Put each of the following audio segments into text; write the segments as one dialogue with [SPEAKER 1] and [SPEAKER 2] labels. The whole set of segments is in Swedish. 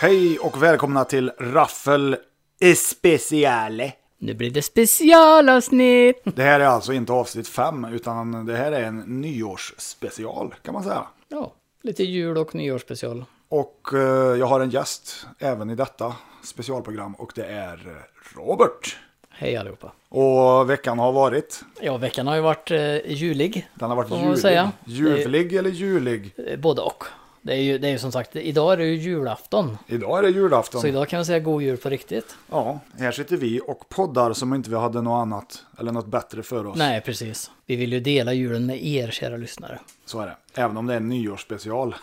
[SPEAKER 1] Hej och välkomna till Raffel Especiale.
[SPEAKER 2] Nu blir det specialavsnitt!
[SPEAKER 1] Det här är alltså inte avsnitt 5 utan det här är en nyårsspecial kan man säga.
[SPEAKER 2] Ja, lite jul och nyårsspecial.
[SPEAKER 1] Och eh, jag har en gäst även i detta specialprogram och det är eh, Robert.
[SPEAKER 2] Hej allihopa!
[SPEAKER 1] Och veckan har varit,
[SPEAKER 2] Ja, veckan har ju varit eh, julig.
[SPEAKER 1] den har varit
[SPEAKER 2] Får man
[SPEAKER 1] julig.
[SPEAKER 2] säga.
[SPEAKER 1] Ljuvlig eller julig?
[SPEAKER 2] Eh, Både och. Det är ju det är ju som sagt, idag är det ju julafton.
[SPEAKER 1] Idag är det julafton.
[SPEAKER 2] Så idag kan vi säga god jul på riktigt.
[SPEAKER 1] Ja, här sitter vi och poddar som inte vi hade något annat eller något bättre för oss.
[SPEAKER 2] Nej, precis. Vi vill ju dela julen med er, kära lyssnare.
[SPEAKER 1] Så är det. Även om det är en nyårsspecial.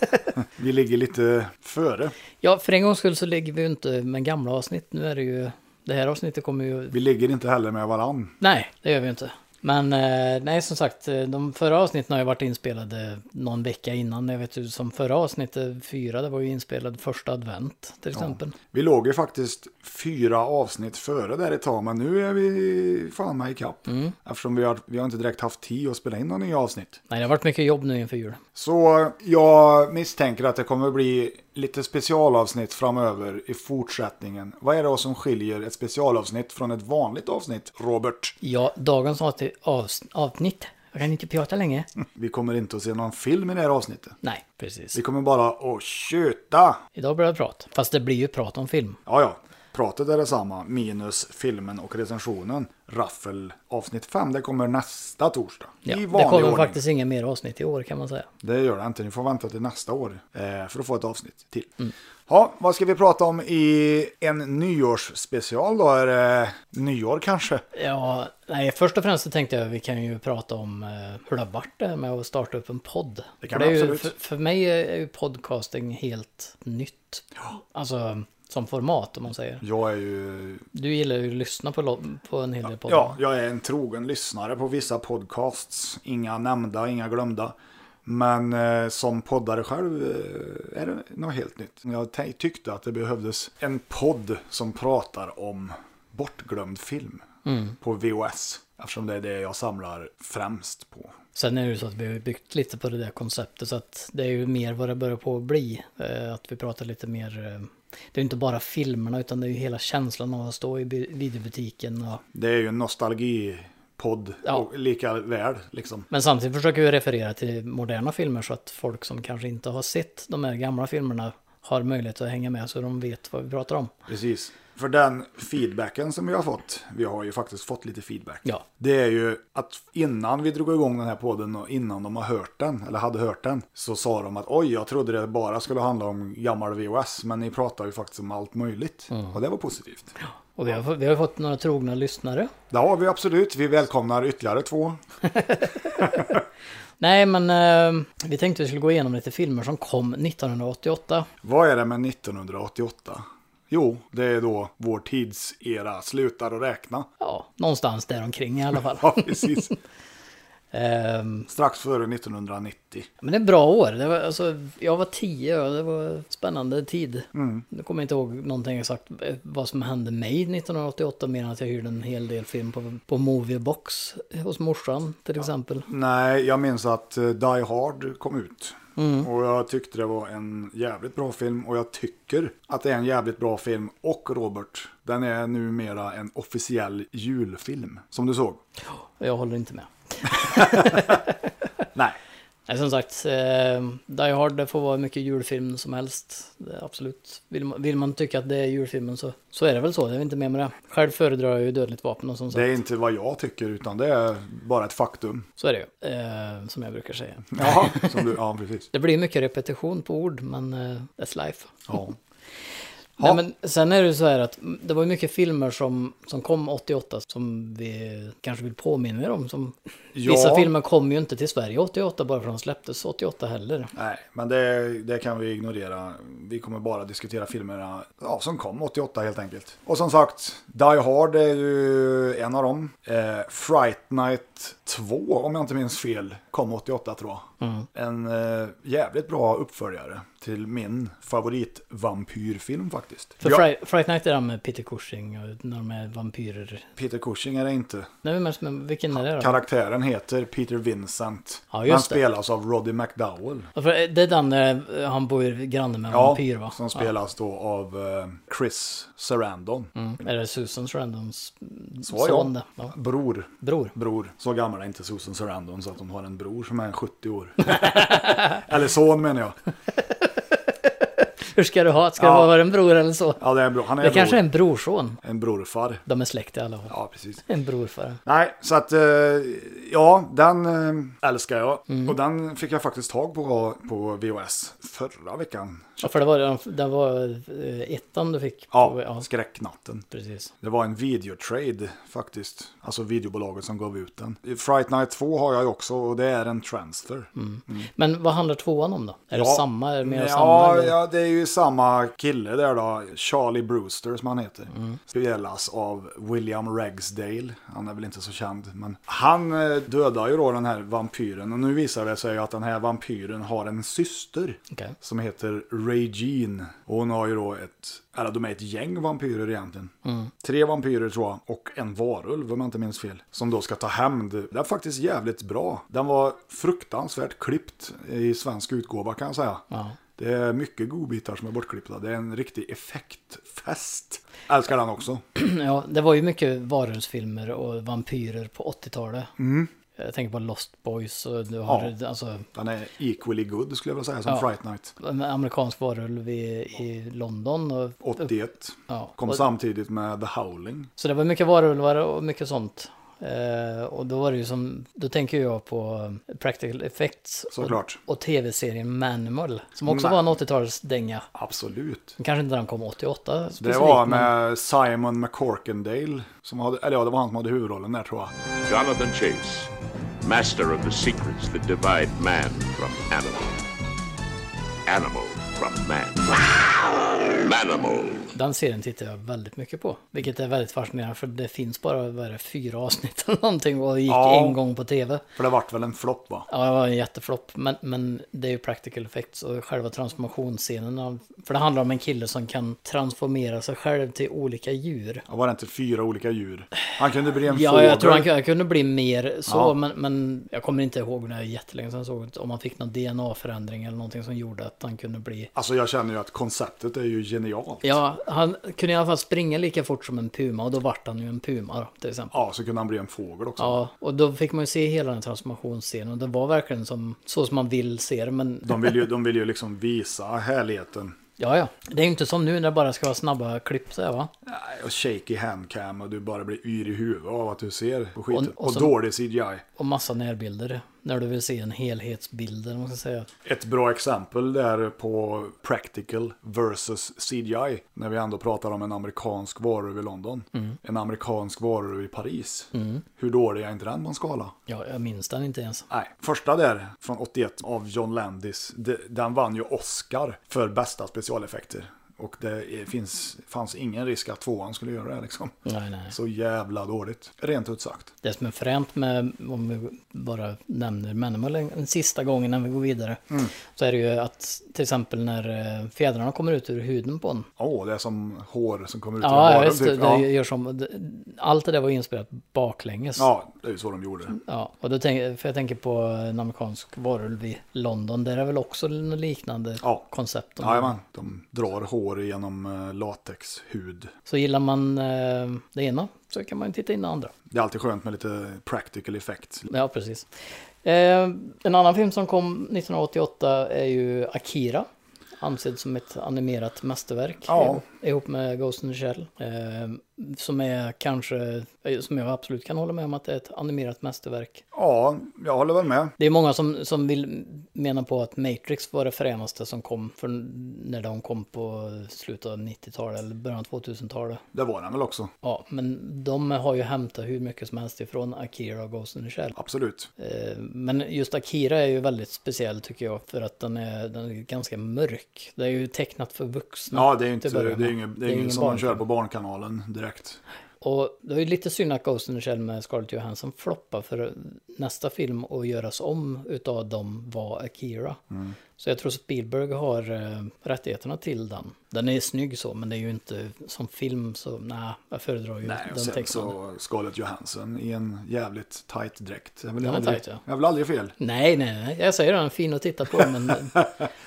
[SPEAKER 1] vi ligger lite före.
[SPEAKER 2] Ja, för en gångs skull så ligger vi ju inte med gamla avsnitt. Nu är det ju... Det här avsnittet kommer ju...
[SPEAKER 1] Vi ligger inte heller med varann.
[SPEAKER 2] Nej, det gör vi ju inte. Men eh, nej, som sagt, eh, de förra avsnitten har ju varit inspelade någon vecka innan. Jag vet ju som förra avsnittet, fyra, det var ju inspelad första advent till exempel.
[SPEAKER 1] Vi låg ju faktiskt fyra avsnitt före där ett tag, men nu är vi fan mig ikapp. Eftersom vi har, vi har inte direkt haft tid att spela in några nya avsnitt.
[SPEAKER 2] Nej, det har varit mycket jobb nu inför jul.
[SPEAKER 1] Så jag misstänker att det kommer bli lite specialavsnitt framöver i fortsättningen. Vad är det då som skiljer ett specialavsnitt från ett vanligt avsnitt, Robert?
[SPEAKER 2] Ja, dagens avsnitt, avs- avsnitt. Jag kan inte prata länge.
[SPEAKER 1] Vi kommer inte att se någon film i det här avsnittet.
[SPEAKER 2] Nej, precis.
[SPEAKER 1] Vi kommer bara att köta.
[SPEAKER 2] Idag blir det prat. Fast det blir ju prat om film.
[SPEAKER 1] Ja, ja. Pratet är detsamma, minus filmen och recensionen. Raffel avsnitt 5, det kommer nästa torsdag.
[SPEAKER 2] Ja,
[SPEAKER 1] I
[SPEAKER 2] det
[SPEAKER 1] vanlig
[SPEAKER 2] kommer
[SPEAKER 1] ordning.
[SPEAKER 2] faktiskt inga mer avsnitt i år kan man säga.
[SPEAKER 1] Det gör det inte, ni får vänta till nästa år eh, för att få ett avsnitt till.
[SPEAKER 2] Mm.
[SPEAKER 1] Ja, vad ska vi prata om i en nyårsspecial då? Är det nyår kanske?
[SPEAKER 2] Ja, nej, först och främst så tänkte jag att vi kan ju prata om eh, hur det har varit det här med att starta upp en podd.
[SPEAKER 1] Det kan
[SPEAKER 2] För är
[SPEAKER 1] vi
[SPEAKER 2] ju,
[SPEAKER 1] absolut.
[SPEAKER 2] För, för mig är ju podcasting helt nytt. Alltså som format om man säger.
[SPEAKER 1] Jag är ju...
[SPEAKER 2] Du gillar ju att lyssna på, lo- på en hel del poddar.
[SPEAKER 1] Ja, jag är en trogen lyssnare på vissa podcasts. Inga nämnda, inga glömda. Men eh, som poddare själv eh, är det något helt nytt. Jag t- tyckte att det behövdes en podd som pratar om bortglömd film på VOS. Eftersom det är det jag samlar främst på.
[SPEAKER 2] Sen är det ju så att vi har ju byggt lite på det där konceptet så att det är ju mer vad det börjar på att bli. Eh, Att vi pratar lite mer, eh, det är ju inte bara filmerna utan det är ju hela känslan av att stå i bi- videobutiken. Och,
[SPEAKER 1] Det är ju en nostalgipodd
[SPEAKER 2] Ja.
[SPEAKER 1] och lika väl liksom.
[SPEAKER 2] men samtidigt försöker vi referera till moderna filmer så att folk som kanske inte har sett de här gamla filmerna har möjlighet att hänga med så de vet vad vi pratar om.
[SPEAKER 1] Precis. För den feedbacken som vi har fått, vi har ju faktiskt fått lite feedback.
[SPEAKER 2] Ja.
[SPEAKER 1] Det är ju att innan vi drog igång den här podden och innan de har hört den, eller hade hört den, så sa de att oj, jag trodde det bara skulle handla om gammal VOS, men ni pratar ju faktiskt om allt möjligt. Och det var positivt.
[SPEAKER 2] Och vi har, vi har fått några trogna lyssnare.
[SPEAKER 1] Det har vi absolut, vi välkomnar ytterligare två.
[SPEAKER 2] Nej men eh, vi tänkte vi skulle gå igenom lite filmer som kom 1988.
[SPEAKER 1] Vad är det med 1988? Jo, det är då vår tidsera slutar att räkna.
[SPEAKER 2] Ja, någonstans där omkring i alla fall.
[SPEAKER 1] Ja, precis.
[SPEAKER 2] Ehm,
[SPEAKER 1] Strax före 1990.
[SPEAKER 2] Men det är bra år. Det var, alltså, jag var tio och det var spännande tid. Nu kommer jag inte ihåg någonting exakt eh, vad som hände mig 1988 mer än att jag hyrde en hel del film på, på Moviebox hos morsan till exempel.
[SPEAKER 1] Nej, jag minns att eh, Die Hard kom ut.
[SPEAKER 2] Mm.
[SPEAKER 1] Och jag tyckte det var en jävligt bra film och jag tycker att det är en jävligt bra film. Och Robert, den är numera en officiell julfilm. Som du såg?
[SPEAKER 2] Och jag håller inte med.
[SPEAKER 1] Nej.
[SPEAKER 2] Nej, som sagt, eh, Die Hard det får vara hur mycket julfilm som helst. Det är absolut. Vill man, vill man tycka att det är julfilmen så, så är det väl så. Det är inte mer med det. Själv föredrar jag ju Dödligt vapen och sånt.
[SPEAKER 1] Det är inte vad jag tycker utan det är bara ett faktum.
[SPEAKER 2] Så är det ju. Eh, som jag brukar säga.
[SPEAKER 1] Ja, som du, ja precis.
[SPEAKER 2] Det blir mycket repetition på ord men eh, that's life.
[SPEAKER 1] Ja. Ja.
[SPEAKER 2] Nej, men sen är det ju så här att det var ju mycket filmer som, som kom 88 som vi kanske vill påminna er om. Som,
[SPEAKER 1] Ja.
[SPEAKER 2] Vissa filmer kom ju inte till Sverige 88 bara för att de släpptes 88 heller.
[SPEAKER 1] Nej, men det, det kan vi ignorera. Vi kommer bara diskutera filmerna ja, som kom 88 helt enkelt. Och som sagt, Die Hard är ju en av dem. Eh, Fright Night 2, om jag inte minns fel, kom 88 tror jag.
[SPEAKER 2] Mm.
[SPEAKER 1] En eh, jävligt bra uppföljare till min favoritvampyrfilm faktiskt.
[SPEAKER 2] För
[SPEAKER 1] Ja,
[SPEAKER 2] Fri- Fright Night är den med Peter Cushing och när de är vampyrer.
[SPEAKER 1] Peter Cushing är det inte.
[SPEAKER 2] Nej, men- men vilken är det då?
[SPEAKER 1] Karaktären heter Peter Vincent.
[SPEAKER 2] Ja,
[SPEAKER 1] han
[SPEAKER 2] just det.
[SPEAKER 1] spelas av Roddy McDowell.
[SPEAKER 2] Ja, för Det är den där eh, han bor granne med en
[SPEAKER 1] Ja,
[SPEAKER 2] vampyr va?
[SPEAKER 1] som spelas då av eh, Chris Sarandon.
[SPEAKER 2] Mm. Är det Susans Randoms
[SPEAKER 1] Så ja.
[SPEAKER 2] son det? Ja.
[SPEAKER 1] Bror.
[SPEAKER 2] Bror.
[SPEAKER 1] Bror. Så gammal är inte Susan Sarandon så att hon har en bror som är 70 år. Eller son menar jag.
[SPEAKER 2] Hur ska du ha det? Ska
[SPEAKER 1] Ja.
[SPEAKER 2] det vara en bror eller så?
[SPEAKER 1] Ja, det är en bror. Han är,
[SPEAKER 2] Det
[SPEAKER 1] bror.
[SPEAKER 2] kanske är en brorson.
[SPEAKER 1] en brorfar.
[SPEAKER 2] De är släkt i alla fall.
[SPEAKER 1] Ja, precis.
[SPEAKER 2] En brorfar.
[SPEAKER 1] Nej, så att eh, ja, den eh, älskar jag.
[SPEAKER 2] Mm.
[SPEAKER 1] Och den fick jag faktiskt tag på på VHS förra veckan.
[SPEAKER 2] Ja, för det var, det var eh, ettan du fick? på-
[SPEAKER 1] Ja,
[SPEAKER 2] ja
[SPEAKER 1] skräcknatten.
[SPEAKER 2] precis.
[SPEAKER 1] Det var en videotrade faktiskt. Alltså videobolaget som gav ut den. Fright Night 2 har jag ju också och det är en transfer.
[SPEAKER 2] Men vad handlar tvåan om då? Är det
[SPEAKER 1] Ja.
[SPEAKER 2] samma? Är det mer samma?
[SPEAKER 1] Ja,
[SPEAKER 2] eller?
[SPEAKER 1] ja, det är ju samma kille där då. Charlie Brewster som han heter.
[SPEAKER 2] Mm.
[SPEAKER 1] Spelas av William Ragsdale. Han är väl inte så känd. Men han eh, dödar ju då den här vampyren. Och nu visar det sig att den här vampyren har en syster.
[SPEAKER 2] Okej.
[SPEAKER 1] Som heter Regine. Och hon har ju då ett, eller de är ett gäng vampyrer egentligen.
[SPEAKER 2] Mm.
[SPEAKER 1] Tre vampyrer tror jag. Och en varulv om jag inte minns fel. Som då ska ta hämnd. Den är faktiskt jävligt bra. Den var fruktansvärt klippt i svensk utgåva kan jag säga.
[SPEAKER 2] Ja.
[SPEAKER 1] Det är mycket godbitar som är bortklippta. Det är en riktig effektfest. Älskar den också.
[SPEAKER 2] Ja, det var ju mycket varulvsfilmer och vampyrer på 80-talet.
[SPEAKER 1] Mm.
[SPEAKER 2] Jag tänker på Lost Boys och du har alltså,
[SPEAKER 1] Den är equally good skulle jag vilja säga som
[SPEAKER 2] Ja.
[SPEAKER 1] Fright Night.
[SPEAKER 2] en amerikansk varulv i, i London. Och,
[SPEAKER 1] 81.
[SPEAKER 2] ja.
[SPEAKER 1] Kom
[SPEAKER 2] och,
[SPEAKER 1] samtidigt med The Howling.
[SPEAKER 2] så det var mycket varulvar och mycket sånt. Eh, och då var det ju som, då tänker jag på eh, Practical Effects och,
[SPEAKER 1] Såklart.
[SPEAKER 2] och tv-serien Manimal. Som också
[SPEAKER 1] Ma-
[SPEAKER 2] var en 80-talsdänga.
[SPEAKER 1] Absolut.
[SPEAKER 2] Kanske inte den kom 88
[SPEAKER 1] Det
[SPEAKER 2] specifikt,
[SPEAKER 1] var
[SPEAKER 2] men-
[SPEAKER 1] med Simon McCorkendale. Som hade, eller ja, det var han som hade huvudrollen där tror jag.
[SPEAKER 3] Jonathan Chase, master of the secrets that divide man from animal, animal from man, manimal.
[SPEAKER 2] Den serien tittar jag väldigt mycket på. Vilket är väldigt fascinerande för det finns bara vad är det, fyra avsnitt eller någonting och det gick
[SPEAKER 1] Ja.
[SPEAKER 2] en gång på tv.
[SPEAKER 1] För det vart väl en flopp va?
[SPEAKER 2] Ja, det var en jätteflopp. Men, men det är ju practical effects och själva transformationsscenen. av- För det handlar om en kille som kan transformera sig själv till olika djur.
[SPEAKER 1] Ja, var det inte fyra olika djur? Han kunde bli en
[SPEAKER 2] Ja,
[SPEAKER 1] fågel.
[SPEAKER 2] jag tror han kunde- kunde bli mer så,
[SPEAKER 1] Ja.
[SPEAKER 2] men, men jag kommer inte ihåg när jag jättelänge sedan såg det, om han fick någon DNA-förändring eller någonting som gjorde att han kunde bli...
[SPEAKER 1] Alltså jag känner ju att konceptet är ju genialt.
[SPEAKER 2] Ja, han kunde i alla fall springa lika fort som en puma och då vart han ju en puma då, till exempel.
[SPEAKER 1] Ja, så kunde han bli en fågel också.
[SPEAKER 2] Ja, och då fick man ju se hela den transformationsscenen. Och det var verkligen som, så som man vill se det. Men
[SPEAKER 1] De vill ju, de vill ju liksom visa härligheten.
[SPEAKER 2] ja, ja. Det är ju inte som nu när det bara ska vara snabba klipp så här, va?
[SPEAKER 1] Nej, Och shaky handcam och du bara blir yr i huvudet av att du ser på skiten.
[SPEAKER 2] Och-
[SPEAKER 1] Och,
[SPEAKER 2] och så-
[SPEAKER 1] dålig CGI.
[SPEAKER 2] Och massa närbilder. När du vill se en helhetsbild eller vad man ska säga.
[SPEAKER 1] Ett bra exempel där på practical versus CGI. När vi ändå pratar om en amerikansk varulv i London.
[SPEAKER 2] Mm.
[SPEAKER 1] En amerikansk varulv i Paris. Hur dålig är inte den på en skala?
[SPEAKER 2] Ja, jag minns den inte ens.
[SPEAKER 1] Nej, första där från 81 av John Landis, de- den vann ju Oscar för bästa specialeffekter. Och det är- finns, fanns ingen risk att tvåan skulle göra det liksom.
[SPEAKER 2] Nej, nej.
[SPEAKER 1] Så jävla dåligt, rent ut sagt.
[SPEAKER 2] Det som är fränt med, om vi bara nämner Manimal en, en sista gången när vi går vidare. Så är det ju att till exempel när eh, fjädrarna kommer ut ur huden på en.
[SPEAKER 1] Åh, det är som hår som kommer ut ur
[SPEAKER 2] Ja, ja,
[SPEAKER 1] öronen,
[SPEAKER 2] just det.
[SPEAKER 1] typ.
[SPEAKER 2] det
[SPEAKER 1] ja.
[SPEAKER 2] gör som, det- allt det där var inspelat baklänges.
[SPEAKER 1] ja, det är ju så de gjorde.
[SPEAKER 2] Ja, och då tänk, för jag tänker på en amerikansk varulv i London. Där är väl också något liknande
[SPEAKER 1] Ja.
[SPEAKER 2] koncept. de har.
[SPEAKER 1] Jajamän, de drar hår genom eh, latexhud.
[SPEAKER 2] Så gillar man eh, det ena så kan man ju titta in det andra.
[SPEAKER 1] Det är alltid skönt med lite practical effect.
[SPEAKER 2] Ja, precis. Eh, en annan film som kom 1988 är ju Akira. Ansedd som ett animerat mästerverk.
[SPEAKER 1] Ja.
[SPEAKER 2] eh, Ihop med Ghost in the Shell. Eh, som är kanske, eh, som jag absolut kan hålla med om att det är ett animerat mästerverk.
[SPEAKER 1] Ja, jag håller väl med.
[SPEAKER 2] Det är många som, som vill mena på att Matrix var det fränaste som kom för när de kom på slutet av 90-talet eller början av 2000-talet.
[SPEAKER 1] Det var den väl också,
[SPEAKER 2] Ja, men de har ju hämtat hur mycket som helst ifrån Akira och Ghost in the Shell.
[SPEAKER 1] absolut.
[SPEAKER 2] Eh, Men just Akira är ju väldigt speciell tycker jag för att den är, den är ganska mörk. Det är ju tecknat för vuxna.
[SPEAKER 1] Ja, det är ju
[SPEAKER 2] till att
[SPEAKER 1] inte, det
[SPEAKER 2] börja
[SPEAKER 1] är ju ingen,
[SPEAKER 2] med. Mm. Det
[SPEAKER 1] det
[SPEAKER 2] är
[SPEAKER 1] är
[SPEAKER 2] ingen
[SPEAKER 1] ingen som de kör
[SPEAKER 2] barnfilm.
[SPEAKER 1] på Barnkanalen direkt.
[SPEAKER 2] Och det är ju lite synd att Ghost in the Shell med Scarlett Johansson
[SPEAKER 1] Mm.
[SPEAKER 2] floppar för nästa film att göras om utav dem var Akira. Så jag tror Spielberg har eh, rättigheterna till den. Den är snygg så, men det är ju inte som film så nej, jag föredrar ju
[SPEAKER 1] Nej, och
[SPEAKER 2] den
[SPEAKER 1] sen
[SPEAKER 2] texten.
[SPEAKER 1] så Scarlett Johansson i en jävligt tight dräkt. Jag vill,
[SPEAKER 2] Den är
[SPEAKER 1] aldrig,
[SPEAKER 2] tight, ja.
[SPEAKER 1] jag vill aldrig fel.
[SPEAKER 2] Nej, nej, nej, jag säger den är fin att titta på, men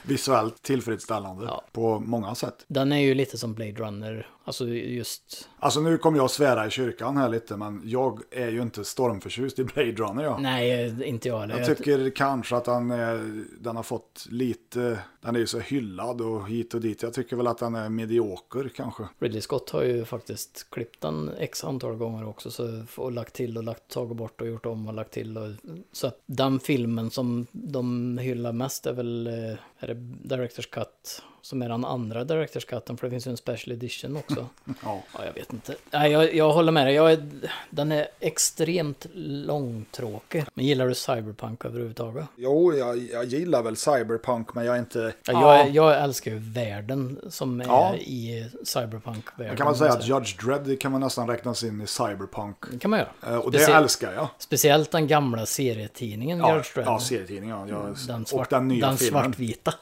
[SPEAKER 1] Visuellt tillfredsställande
[SPEAKER 2] Ja.
[SPEAKER 1] på många sätt.
[SPEAKER 2] den är ju lite som Blade Runner. Alltså just,
[SPEAKER 1] Alltså nu kommer jag att svära i kyrkan här lite, men jag är ju inte stormförtjust i Blade Runner. Jag.
[SPEAKER 2] nej, inte jag heller.
[SPEAKER 1] Jag tycker kanske att den, är, den har fått lite, den är ju så hyllad och hit och dit. Jag tycker väl att den är medioker kanske.
[SPEAKER 2] Ridley Scott har ju faktiskt klippt den x antal gånger också så, och lagt till och lagt, tagit bort och gjort om och lagt till. Och, så att den filmen som de hyllar mest är väl eh, är det Directors Cut som är den andra Directors Cutten för det finns ju en special edition också.
[SPEAKER 1] Ja.
[SPEAKER 2] ja, jag vet inte. Nej, jag, jag håller med dig. Jag är, den är extremt långtråkig. Men gillar du Cyberpunk överhuvudtaget?
[SPEAKER 1] Jo, jag, jag gillar väl cyberpunk, men jag är inte...
[SPEAKER 2] Ja,
[SPEAKER 1] Ja.
[SPEAKER 2] jag, jag älskar ju världen som är
[SPEAKER 1] Ja.
[SPEAKER 2] i Cyberpunk-världen.
[SPEAKER 1] Man kan man säga att Judge Dredd kan man nästan räknas in i cyberpunk.
[SPEAKER 2] Det kan man göra.
[SPEAKER 1] Eh, Och det
[SPEAKER 2] Specie-
[SPEAKER 1] älskar jag.
[SPEAKER 2] Speciellt den gamla serietidningen
[SPEAKER 1] Ja,
[SPEAKER 2] Judge Dredd.
[SPEAKER 1] ja serietidningen. Ja. Jag-
[SPEAKER 2] den
[SPEAKER 1] och
[SPEAKER 2] svart,
[SPEAKER 1] den nya filmen.
[SPEAKER 2] svartvita.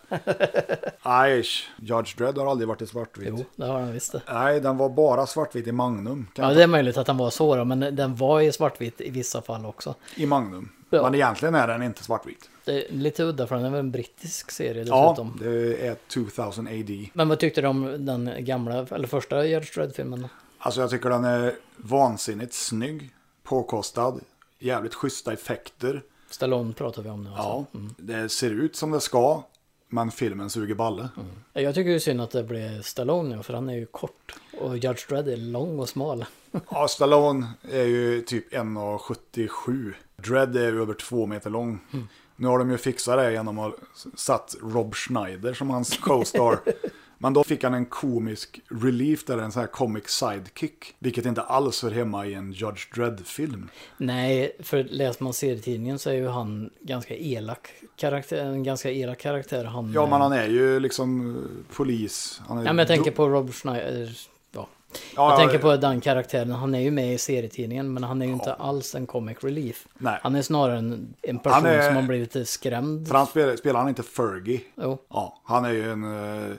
[SPEAKER 1] Aish, Judge Dredd har aldrig varit i svartvit.
[SPEAKER 2] Jo, det har den visst. det.
[SPEAKER 1] Nej, den var bara svartvit i Magnum. Kan
[SPEAKER 2] Ja, det är möjligt att den var så då, men den var i svartvit i vissa fall också.
[SPEAKER 1] I Magnum.
[SPEAKER 2] Ja.
[SPEAKER 1] Men egentligen är den inte svartvit.
[SPEAKER 2] Det är lite udda för den är väl en brittisk serie
[SPEAKER 1] Ja,
[SPEAKER 2] dessutom.
[SPEAKER 1] det är 2000 AD.
[SPEAKER 2] Men vad tyckte du om den gamla, eller första Judge Dredd-filmen?
[SPEAKER 1] Alltså jag tycker den är vansinnigt snygg, påkostad, jävligt schyssta effekter.
[SPEAKER 2] Stallone pratar vi om nu alltså.
[SPEAKER 1] Ja, det ser ut som det ska, men filmen suger balle.
[SPEAKER 2] Jag tycker ju synd att det blev Stallone nu, för han är ju kort. Och Judge Dredd är lång och smal.
[SPEAKER 1] Ja, Stallone är ju typ 1,77. Dredd är ju över två meter lång. Nu har de ju fixat det genom att satt Rob Schneider som hans co-star. Men då fick han en komisk relief där, en sån här comic sidekick. Vilket inte alls hör hemma i en Judge Dredd-film.
[SPEAKER 2] Nej, för läser man serietidningen så är ju han ganska elak karaktär, en ganska elak karaktär. Han,
[SPEAKER 1] Ja, men han är ju liksom eh, polis. Han är
[SPEAKER 2] Ja, men jag tänker
[SPEAKER 1] do-
[SPEAKER 2] på Rob Schneider. Ja.
[SPEAKER 1] Ja,
[SPEAKER 2] jag
[SPEAKER 1] ja,
[SPEAKER 2] tänker
[SPEAKER 1] ja.
[SPEAKER 2] på den karaktären. Han är ju med i serietidningen, men han är ju inte alls en comic relief.
[SPEAKER 1] Nej.
[SPEAKER 2] Han är snarare en, en person
[SPEAKER 1] är-
[SPEAKER 2] som har blivit lite skrämd.
[SPEAKER 1] För han spelar, spelar han inte Fergie?
[SPEAKER 2] Jo,
[SPEAKER 1] Ja, han är ju en eh,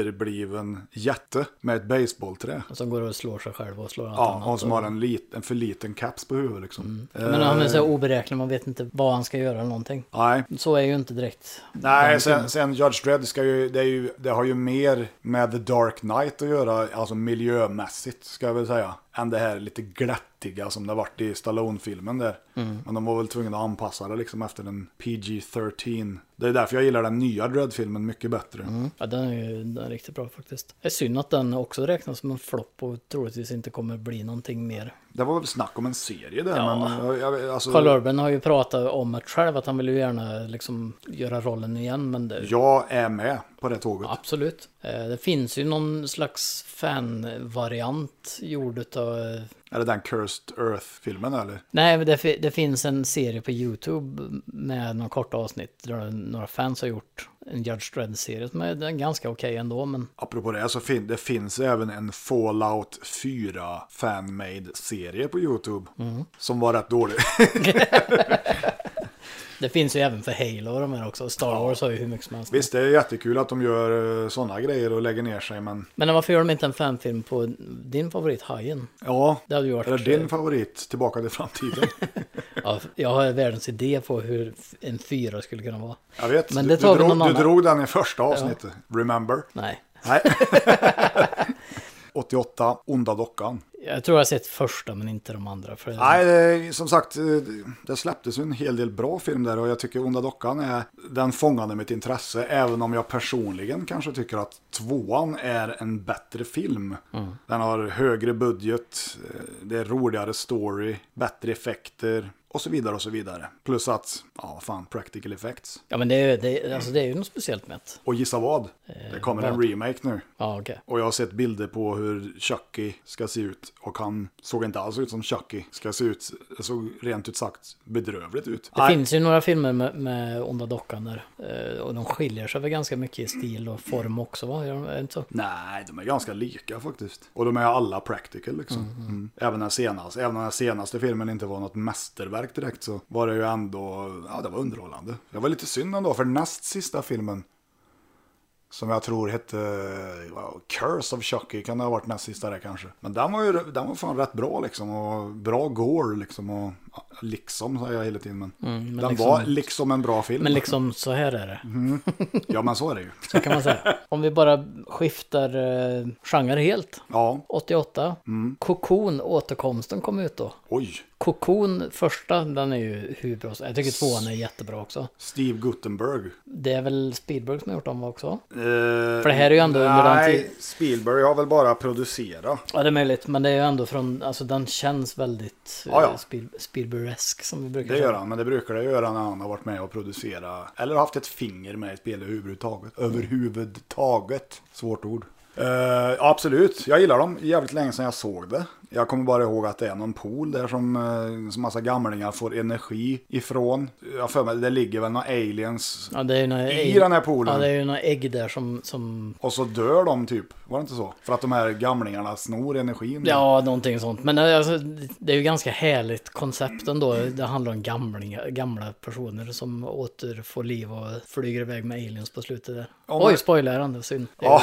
[SPEAKER 1] efterbliven jätte med ett baseballträ.
[SPEAKER 2] som går och slår sig själv och slår allt
[SPEAKER 1] Ja,
[SPEAKER 2] annat.
[SPEAKER 1] och som
[SPEAKER 2] och-
[SPEAKER 1] har en, lit, en för liten caps på huvudet liksom.
[SPEAKER 2] Men han är så här oberäknelig, man vet inte vad han ska göra eller någonting.
[SPEAKER 1] Nej,
[SPEAKER 2] Så är ju inte direkt.
[SPEAKER 1] Nej sen, sen Judge Dredd ska ju det, är ju, det har ju mer med The Dark Knight att göra, alltså miljömässigt ska jag väl säga, än det här lite glättiga som det varit i Stallone-filmen där. Men de var väl tvungna att anpassa det liksom efter en PG-13. Det är därför jag gillar den nya Dredd-filmen mycket bättre.
[SPEAKER 2] Ja, den är ju den är riktigt bra faktiskt. Det är synd att den också räknas som en flopp och troligtvis inte kommer bli någonting mer.
[SPEAKER 1] Det var väl snack om en serie där,
[SPEAKER 2] Ja.
[SPEAKER 1] men eh, jag, alltså,
[SPEAKER 2] Carl Urban har ju pratat om att själv att han vill ju gärna liksom göra rollen igen, men det,
[SPEAKER 1] jag är med på det tåget.
[SPEAKER 2] Absolut. Eh, Det finns ju någon slags fan-variant gjord utav...
[SPEAKER 1] Är det den Cursed Earth-filmen eller?
[SPEAKER 2] Nej, men det, fi- det finns en serie på YouTube med några korta avsnitt där några fans har gjort en Judge Dredd-serie som är den är ganska okej ändå, men
[SPEAKER 1] Apropå det, så fin- det finns även en Fallout 4 fanmade serie på YouTube.
[SPEAKER 2] Mm.
[SPEAKER 1] Som var rätt dålig.
[SPEAKER 2] det finns ju även för Halo och de här också. Star Wars har ju hur mycket som helst.
[SPEAKER 1] Visst, det är jättekul att de gör sådana grejer och lägger ner sig, men
[SPEAKER 2] Men varför gör de inte en fanfilm på din favorit, Hajen?
[SPEAKER 1] ja.
[SPEAKER 2] Det hade ju varit...
[SPEAKER 1] Eller din favorit, Tillbaka till framtiden.
[SPEAKER 2] ja, jag har världens idé på hur en fyra skulle kunna vara.
[SPEAKER 1] Jag vet,
[SPEAKER 2] Men
[SPEAKER 1] du-
[SPEAKER 2] det tar vi
[SPEAKER 1] du,
[SPEAKER 2] någon
[SPEAKER 1] drog, du
[SPEAKER 2] annan.
[SPEAKER 1] drog den i första avsnittet. Remember?
[SPEAKER 2] Nej.
[SPEAKER 1] Nej. 88, Onda Dockan.
[SPEAKER 2] Jag tror jag har sett första men inte de andra. För
[SPEAKER 1] Nej, det är- som sagt, eh, det släpptes ju en hel del bra film där och jag tycker Onda Dockan är, den fångade mitt intresse, även om jag personligen kanske tycker att tvåan är en bättre film. Den har högre budget, eh, det är roligare story, bättre effekter och så vidare och så vidare. Plus att, ja vad fan, practical effects.
[SPEAKER 2] Ja men det är, det, alltså, det är ju något speciellt med det.
[SPEAKER 1] Och gissa vad? Det kommer en
[SPEAKER 2] vad?
[SPEAKER 1] remake nu.
[SPEAKER 2] Ja okej.
[SPEAKER 1] Och jag har sett bilder på hur Chucky ska se ut. och han såg inte alls ut som Chucky. Ska se ut, såg rent ut sagt bedrövligt ut.
[SPEAKER 2] Det
[SPEAKER 1] Nej,
[SPEAKER 2] finns ju några filmer med, med onda dockan där. eh, Och de skiljer sig väl ganska mycket i stil och form också va? Gör de- Är det inte så?
[SPEAKER 1] Nej, de är ganska lika faktiskt. Och de är alla practical liksom. Mm. Även, den senaste, även om den senaste filmen inte var något mästerverk direkt så var det ju ändå, ja det var underhållande. Det var lite synd ändå för näst sista filmen som jag tror hette wow, Curse of Chucky, kan det ha varit näst sista där kanske. Men den var ju den var fan rätt bra liksom och bra gore liksom och ja, liksom säger jag hela tiden men,
[SPEAKER 2] men
[SPEAKER 1] den
[SPEAKER 2] liksom-
[SPEAKER 1] var liksom en bra film.
[SPEAKER 2] Men liksom så här är det.
[SPEAKER 1] Mm. Ja men så är det ju.
[SPEAKER 2] Så kan man säga. Om vi bara skiftar eh, genre helt.
[SPEAKER 1] Ja,
[SPEAKER 2] 88.
[SPEAKER 1] Mm.
[SPEAKER 2] Cocoon, återkomsten kom ut då.
[SPEAKER 1] oj.
[SPEAKER 2] Cocoon, första, den är ju hur bra som- Jag tycker tvåan är jättebra också.
[SPEAKER 1] Steve Guttenberg.
[SPEAKER 2] Det är väl Spielberg som har gjort dem också?
[SPEAKER 1] För
[SPEAKER 2] det här är ju ändå under den
[SPEAKER 1] Eh, Nej,
[SPEAKER 2] tid-
[SPEAKER 1] Spielberg har väl bara producerat.
[SPEAKER 2] Ja, det är möjligt. Men det är ju ändå från, alltså den känns väldigt eh,
[SPEAKER 1] Ja, ja.
[SPEAKER 2] Spiel, Spielbergesk som vi brukar
[SPEAKER 1] Det gör han, men det brukar det göra när han har varit med och producerat. Eller haft ett finger med i spelet överhuvudtaget. Överhuvudtaget. Svårt ord. Eh, absolut, jag gillar dem jävligt länge sedan jag såg det. Jag kommer bara ihåg att det är någon pool där som, eh, som massa gamlingar får energi ifrån. Jag har för mig, det ligger väl några aliens
[SPEAKER 2] Ja, det är ju några
[SPEAKER 1] i
[SPEAKER 2] ägg-
[SPEAKER 1] den här poolen.
[SPEAKER 2] Ja, det är ju några ägg där som, som
[SPEAKER 1] Och så dör de typ, var det inte så? För att de här gamlingarna snor energin.
[SPEAKER 2] Ja, någonting sånt. Men eh, alltså, det är ju ganska härligt koncept ändå. Det handlar om gamlingar, gamla personer som åter får liv och flyger iväg med aliens på slutet där.
[SPEAKER 1] Om man-
[SPEAKER 2] Oj, spoilerande, synd. Det är
[SPEAKER 1] Ja.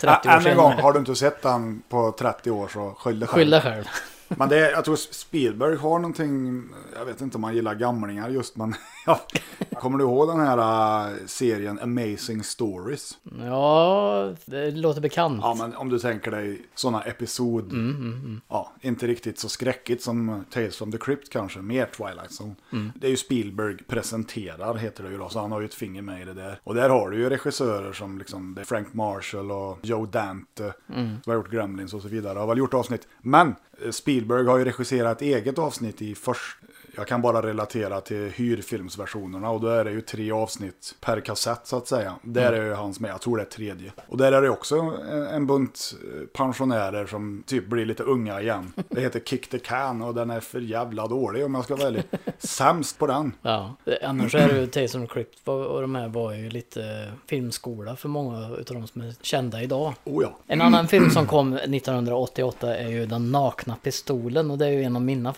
[SPEAKER 2] 30 år
[SPEAKER 1] Än en
[SPEAKER 2] senare.
[SPEAKER 1] gång, har du inte sett den på 30 år så skyll dig
[SPEAKER 2] Skyll
[SPEAKER 1] själv.
[SPEAKER 2] dig själv.
[SPEAKER 1] Men det, är- jag tror Spielberg har någonting, jag vet inte om han gillar gamlingar just men ja. Kommer du ihåg den här äh, serien Amazing Stories?
[SPEAKER 2] Ja, det låter bekant.
[SPEAKER 1] Ja men om du tänker dig sådana episod, ja inte riktigt så skräckigt som Tales from the Crypt kanske, mer Twilight Zone. Det är ju Spielberg presenterar heter det ju då, så han har ju ett finger med i det där. Och där har du ju regissörer som liksom det är Frank Marshall och Joe Dante som har gjort Gremlins och så vidare, har väl gjort avsnitt. Men eh, Spielberg har ju regisserat ett eget avsnitt i först, jag kan bara relatera till hyrfilmsversionerna och då är det ju tre avsnitt per kassett så att säga. Där är ju hans med, jag tror det är tredje. Och där är det också en, en bunt eh, pensionärer som typ blir lite unga igen. Det heter Kick the Can och den är för jävla dålig om jag ska vara ärlig. Sämst på den.
[SPEAKER 2] Ja, annars är det ju Tales of the Crypt var- och de här var ju lite filmskola för många utav de som är kända idag.
[SPEAKER 1] Oh ja.
[SPEAKER 2] En annan film som kom 1988 är ju Den nakna pistolen och det är ju en av mina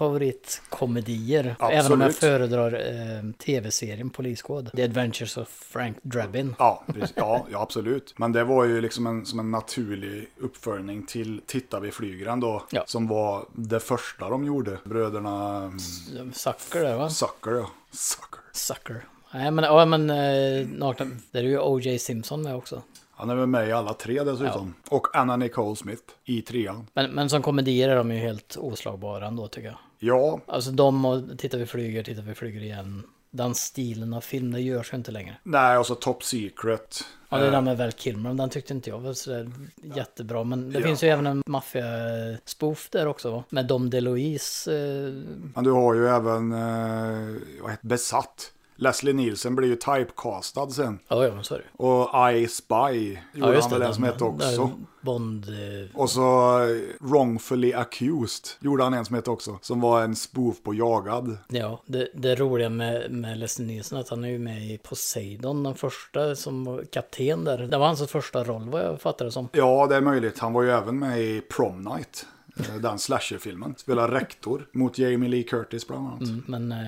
[SPEAKER 2] favoritkomedier.
[SPEAKER 1] Absolut.
[SPEAKER 2] Även om jag föredrar eh, tv-serien Poliskod. The Adventures of Frank Drebin.
[SPEAKER 1] Ja, precis. ja, ja, absolut. Men det var ju liksom en, som en naturlig uppföljning till Titta vi flyger ändå.
[SPEAKER 2] Ja.
[SPEAKER 1] Som var det första de gjorde. Bröderna mm,
[SPEAKER 2] Sucker där va?
[SPEAKER 1] Sucker. ja. Sucker.
[SPEAKER 2] Sucker. Nej men, ja, men eh, nakna, där är ju O.J. Simpson med också.
[SPEAKER 1] Han är väl med i alla tre dessutom. Och Anna Nicole Smith i trean.
[SPEAKER 2] Men, men som komedier är de ju helt oslagbara ändå tycker jag.
[SPEAKER 1] Ja,
[SPEAKER 2] Alltså de och Tittar vi flyger, Tittar vi flyger igen. Den stilen av film, det görs ju inte längre.
[SPEAKER 1] nej, och så Top Secret.
[SPEAKER 2] Ja, det där med Val Kilmer, den tyckte inte jag var sådär jättebra. Men det
[SPEAKER 1] Ja.
[SPEAKER 2] finns ju även en maffia-spoof där också, va? med Dom DeLuise. Eh,
[SPEAKER 1] Men du har ju även, eh, vad heter Besatt. Leslie Nielsen blir ju typecastad sen.
[SPEAKER 2] ja, ja, men så är det ju.
[SPEAKER 1] Och I Spy
[SPEAKER 2] Ja,
[SPEAKER 1] gjorde han väl en som hette
[SPEAKER 2] den
[SPEAKER 1] också.
[SPEAKER 2] Bond... eh,
[SPEAKER 1] Och så eh, Wrongfully Accused gjorde han en som hette också. Som var en spoof på Jagad.
[SPEAKER 2] Ja, det, det roliga med, med Leslie Nielsen är att han är ju med i Poseidon, den första som var kapten där. Det var hans första roll vad jag fattar det som.
[SPEAKER 1] Ja, det är möjligt. Han var ju även med i Prom Night. eh, Den slasherfilmen. Spelar rektor mot Jamie Lee Curtis bland annat.
[SPEAKER 2] Men eh,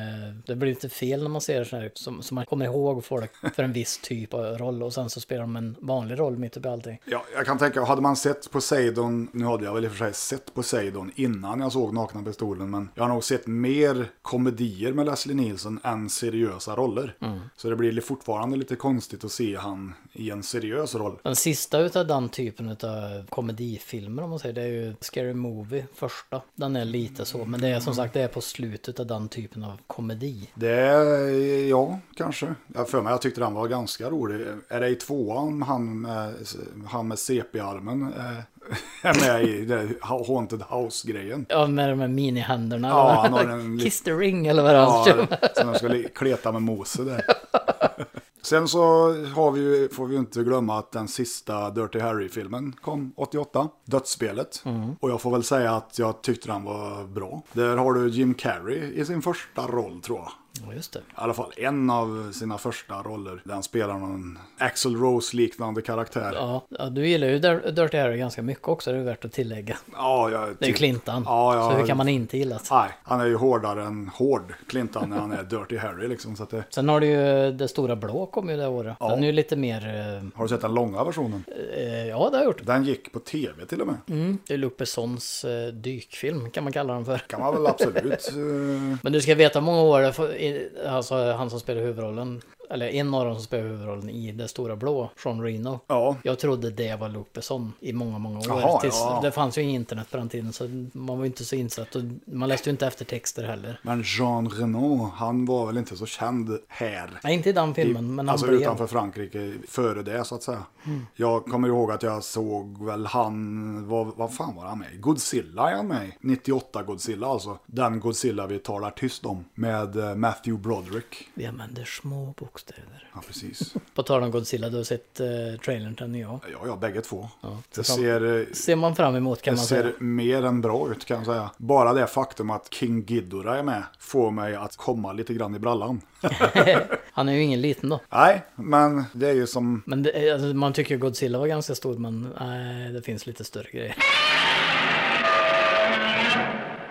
[SPEAKER 2] det blir lite fel när man ser sådana här som, som man kommer ihåg folk för en viss typ av roll och sen så spelar de en vanlig roll mitt uppe i allting.
[SPEAKER 1] Ja, jag kan tänka, hade man sett Poseidon, nu hade jag väl i och för sig sett Poseidon innan jag såg Nakna Pistolen, men jag har nog sett mer komedier med Leslie Nielsen än seriösa roller. Så det blir li- fortfarande lite konstigt att se han i en seriös roll.
[SPEAKER 2] Den sista utav den typen utav komedifilmer om man säger det är ju Scary Movie första. Den är lite så men det är som sagt det är på slutet av den typen av komedi.
[SPEAKER 1] Det, ja, kanske. Jag för mig, jag tyckte den var ganska rolig. Är det i tvåan han med, han med CP-armen eh, är med i det Haunted House-grejen?
[SPEAKER 2] Ja med de här minihänderna.
[SPEAKER 1] Ja,
[SPEAKER 2] eller vad-
[SPEAKER 1] han har en lit-
[SPEAKER 2] Kiss the ring eller vad det är.
[SPEAKER 1] Ja, som de skulle kleta med Mose där. Sen så har vi, ju- får vi ju inte glömma att den sista Dirty Harry-filmen kom 88. Dödsspelet.
[SPEAKER 2] Mm.
[SPEAKER 1] Och jag får väl säga att jag tyckte den var bra. Där har du Jim Carrey i sin första roll tror jag.
[SPEAKER 2] Ja, just det.
[SPEAKER 1] I alla fall en av sina första roller. Den spelar någon Axel Rose-liknande karaktär. Ja,
[SPEAKER 2] Ja, ja, du gillar ju Dir- Dirty Harry ganska mycket också, det är värt att tillägga.
[SPEAKER 1] jag
[SPEAKER 2] Det är ju
[SPEAKER 1] tyck-
[SPEAKER 2] Clintan.
[SPEAKER 1] Ja, ja.
[SPEAKER 2] Så hur kan man inte gilla det?
[SPEAKER 1] Nej, han är ju hårdare än hård Clintan när han är Dirty Harry liksom. Så att det...
[SPEAKER 2] Sen har du ju Det Stora Blå kom ju det året. Den är ju lite mer... eh,
[SPEAKER 1] Har du sett den långa versionen?
[SPEAKER 2] Eh, ja, det har jag gjort.
[SPEAKER 1] Den gick på tv till och med.
[SPEAKER 2] Mm. Det är Luc Bessons eh, dykfilm, kan man kalla den för.
[SPEAKER 1] Kan man väl absolut. eh,
[SPEAKER 2] Men du ska veta hur många år, det får- i- alltså han som spelar huvudrollen, eller en av dem som spelar huvudrollen i Det Stora Blå, Sean Reno.
[SPEAKER 1] ja,
[SPEAKER 2] Jag trodde det var Luc Besson i många, många år.
[SPEAKER 1] Jaha,
[SPEAKER 2] tills,
[SPEAKER 1] ja.
[SPEAKER 2] Det fanns ju inget internet på den tiden så man var ju inte så insatt och man läste ju inte eftertexter heller.
[SPEAKER 1] men Jean Renault, han var väl inte så känd här.
[SPEAKER 2] Nej, inte i den filmen,
[SPEAKER 1] I-
[SPEAKER 2] men han
[SPEAKER 1] alltså
[SPEAKER 2] blev...
[SPEAKER 1] utanför Frankrike, före det så att säga. Jag kommer ihåg att jag såg väl han, vad, vad fan var han med i? Godzilla är han med i. 98 Godzilla alltså. Den Godzilla vi talar tyst om. Med eh, Matthew Broderick.
[SPEAKER 2] Vi använder små bokstäver.
[SPEAKER 1] Ja, precis.
[SPEAKER 2] På tal om Godzilla, du har sett eh, trailern till den nya.
[SPEAKER 1] Ja, ja, bägge två. det
[SPEAKER 2] fram-
[SPEAKER 1] ser... eh,
[SPEAKER 2] Ser man fram emot kan
[SPEAKER 1] Det
[SPEAKER 2] man säga.
[SPEAKER 1] ser mer än bra ut kan jag säga. Bara det faktum att King Ghidorah är med får mig att komma lite grann i brallan.
[SPEAKER 2] Han är ju ingen liten då.
[SPEAKER 1] Nej, men det är ju som...
[SPEAKER 2] Men det, är- alltså, man tycker ju Godzilla var ganska stor, men nej, det finns lite större grejer.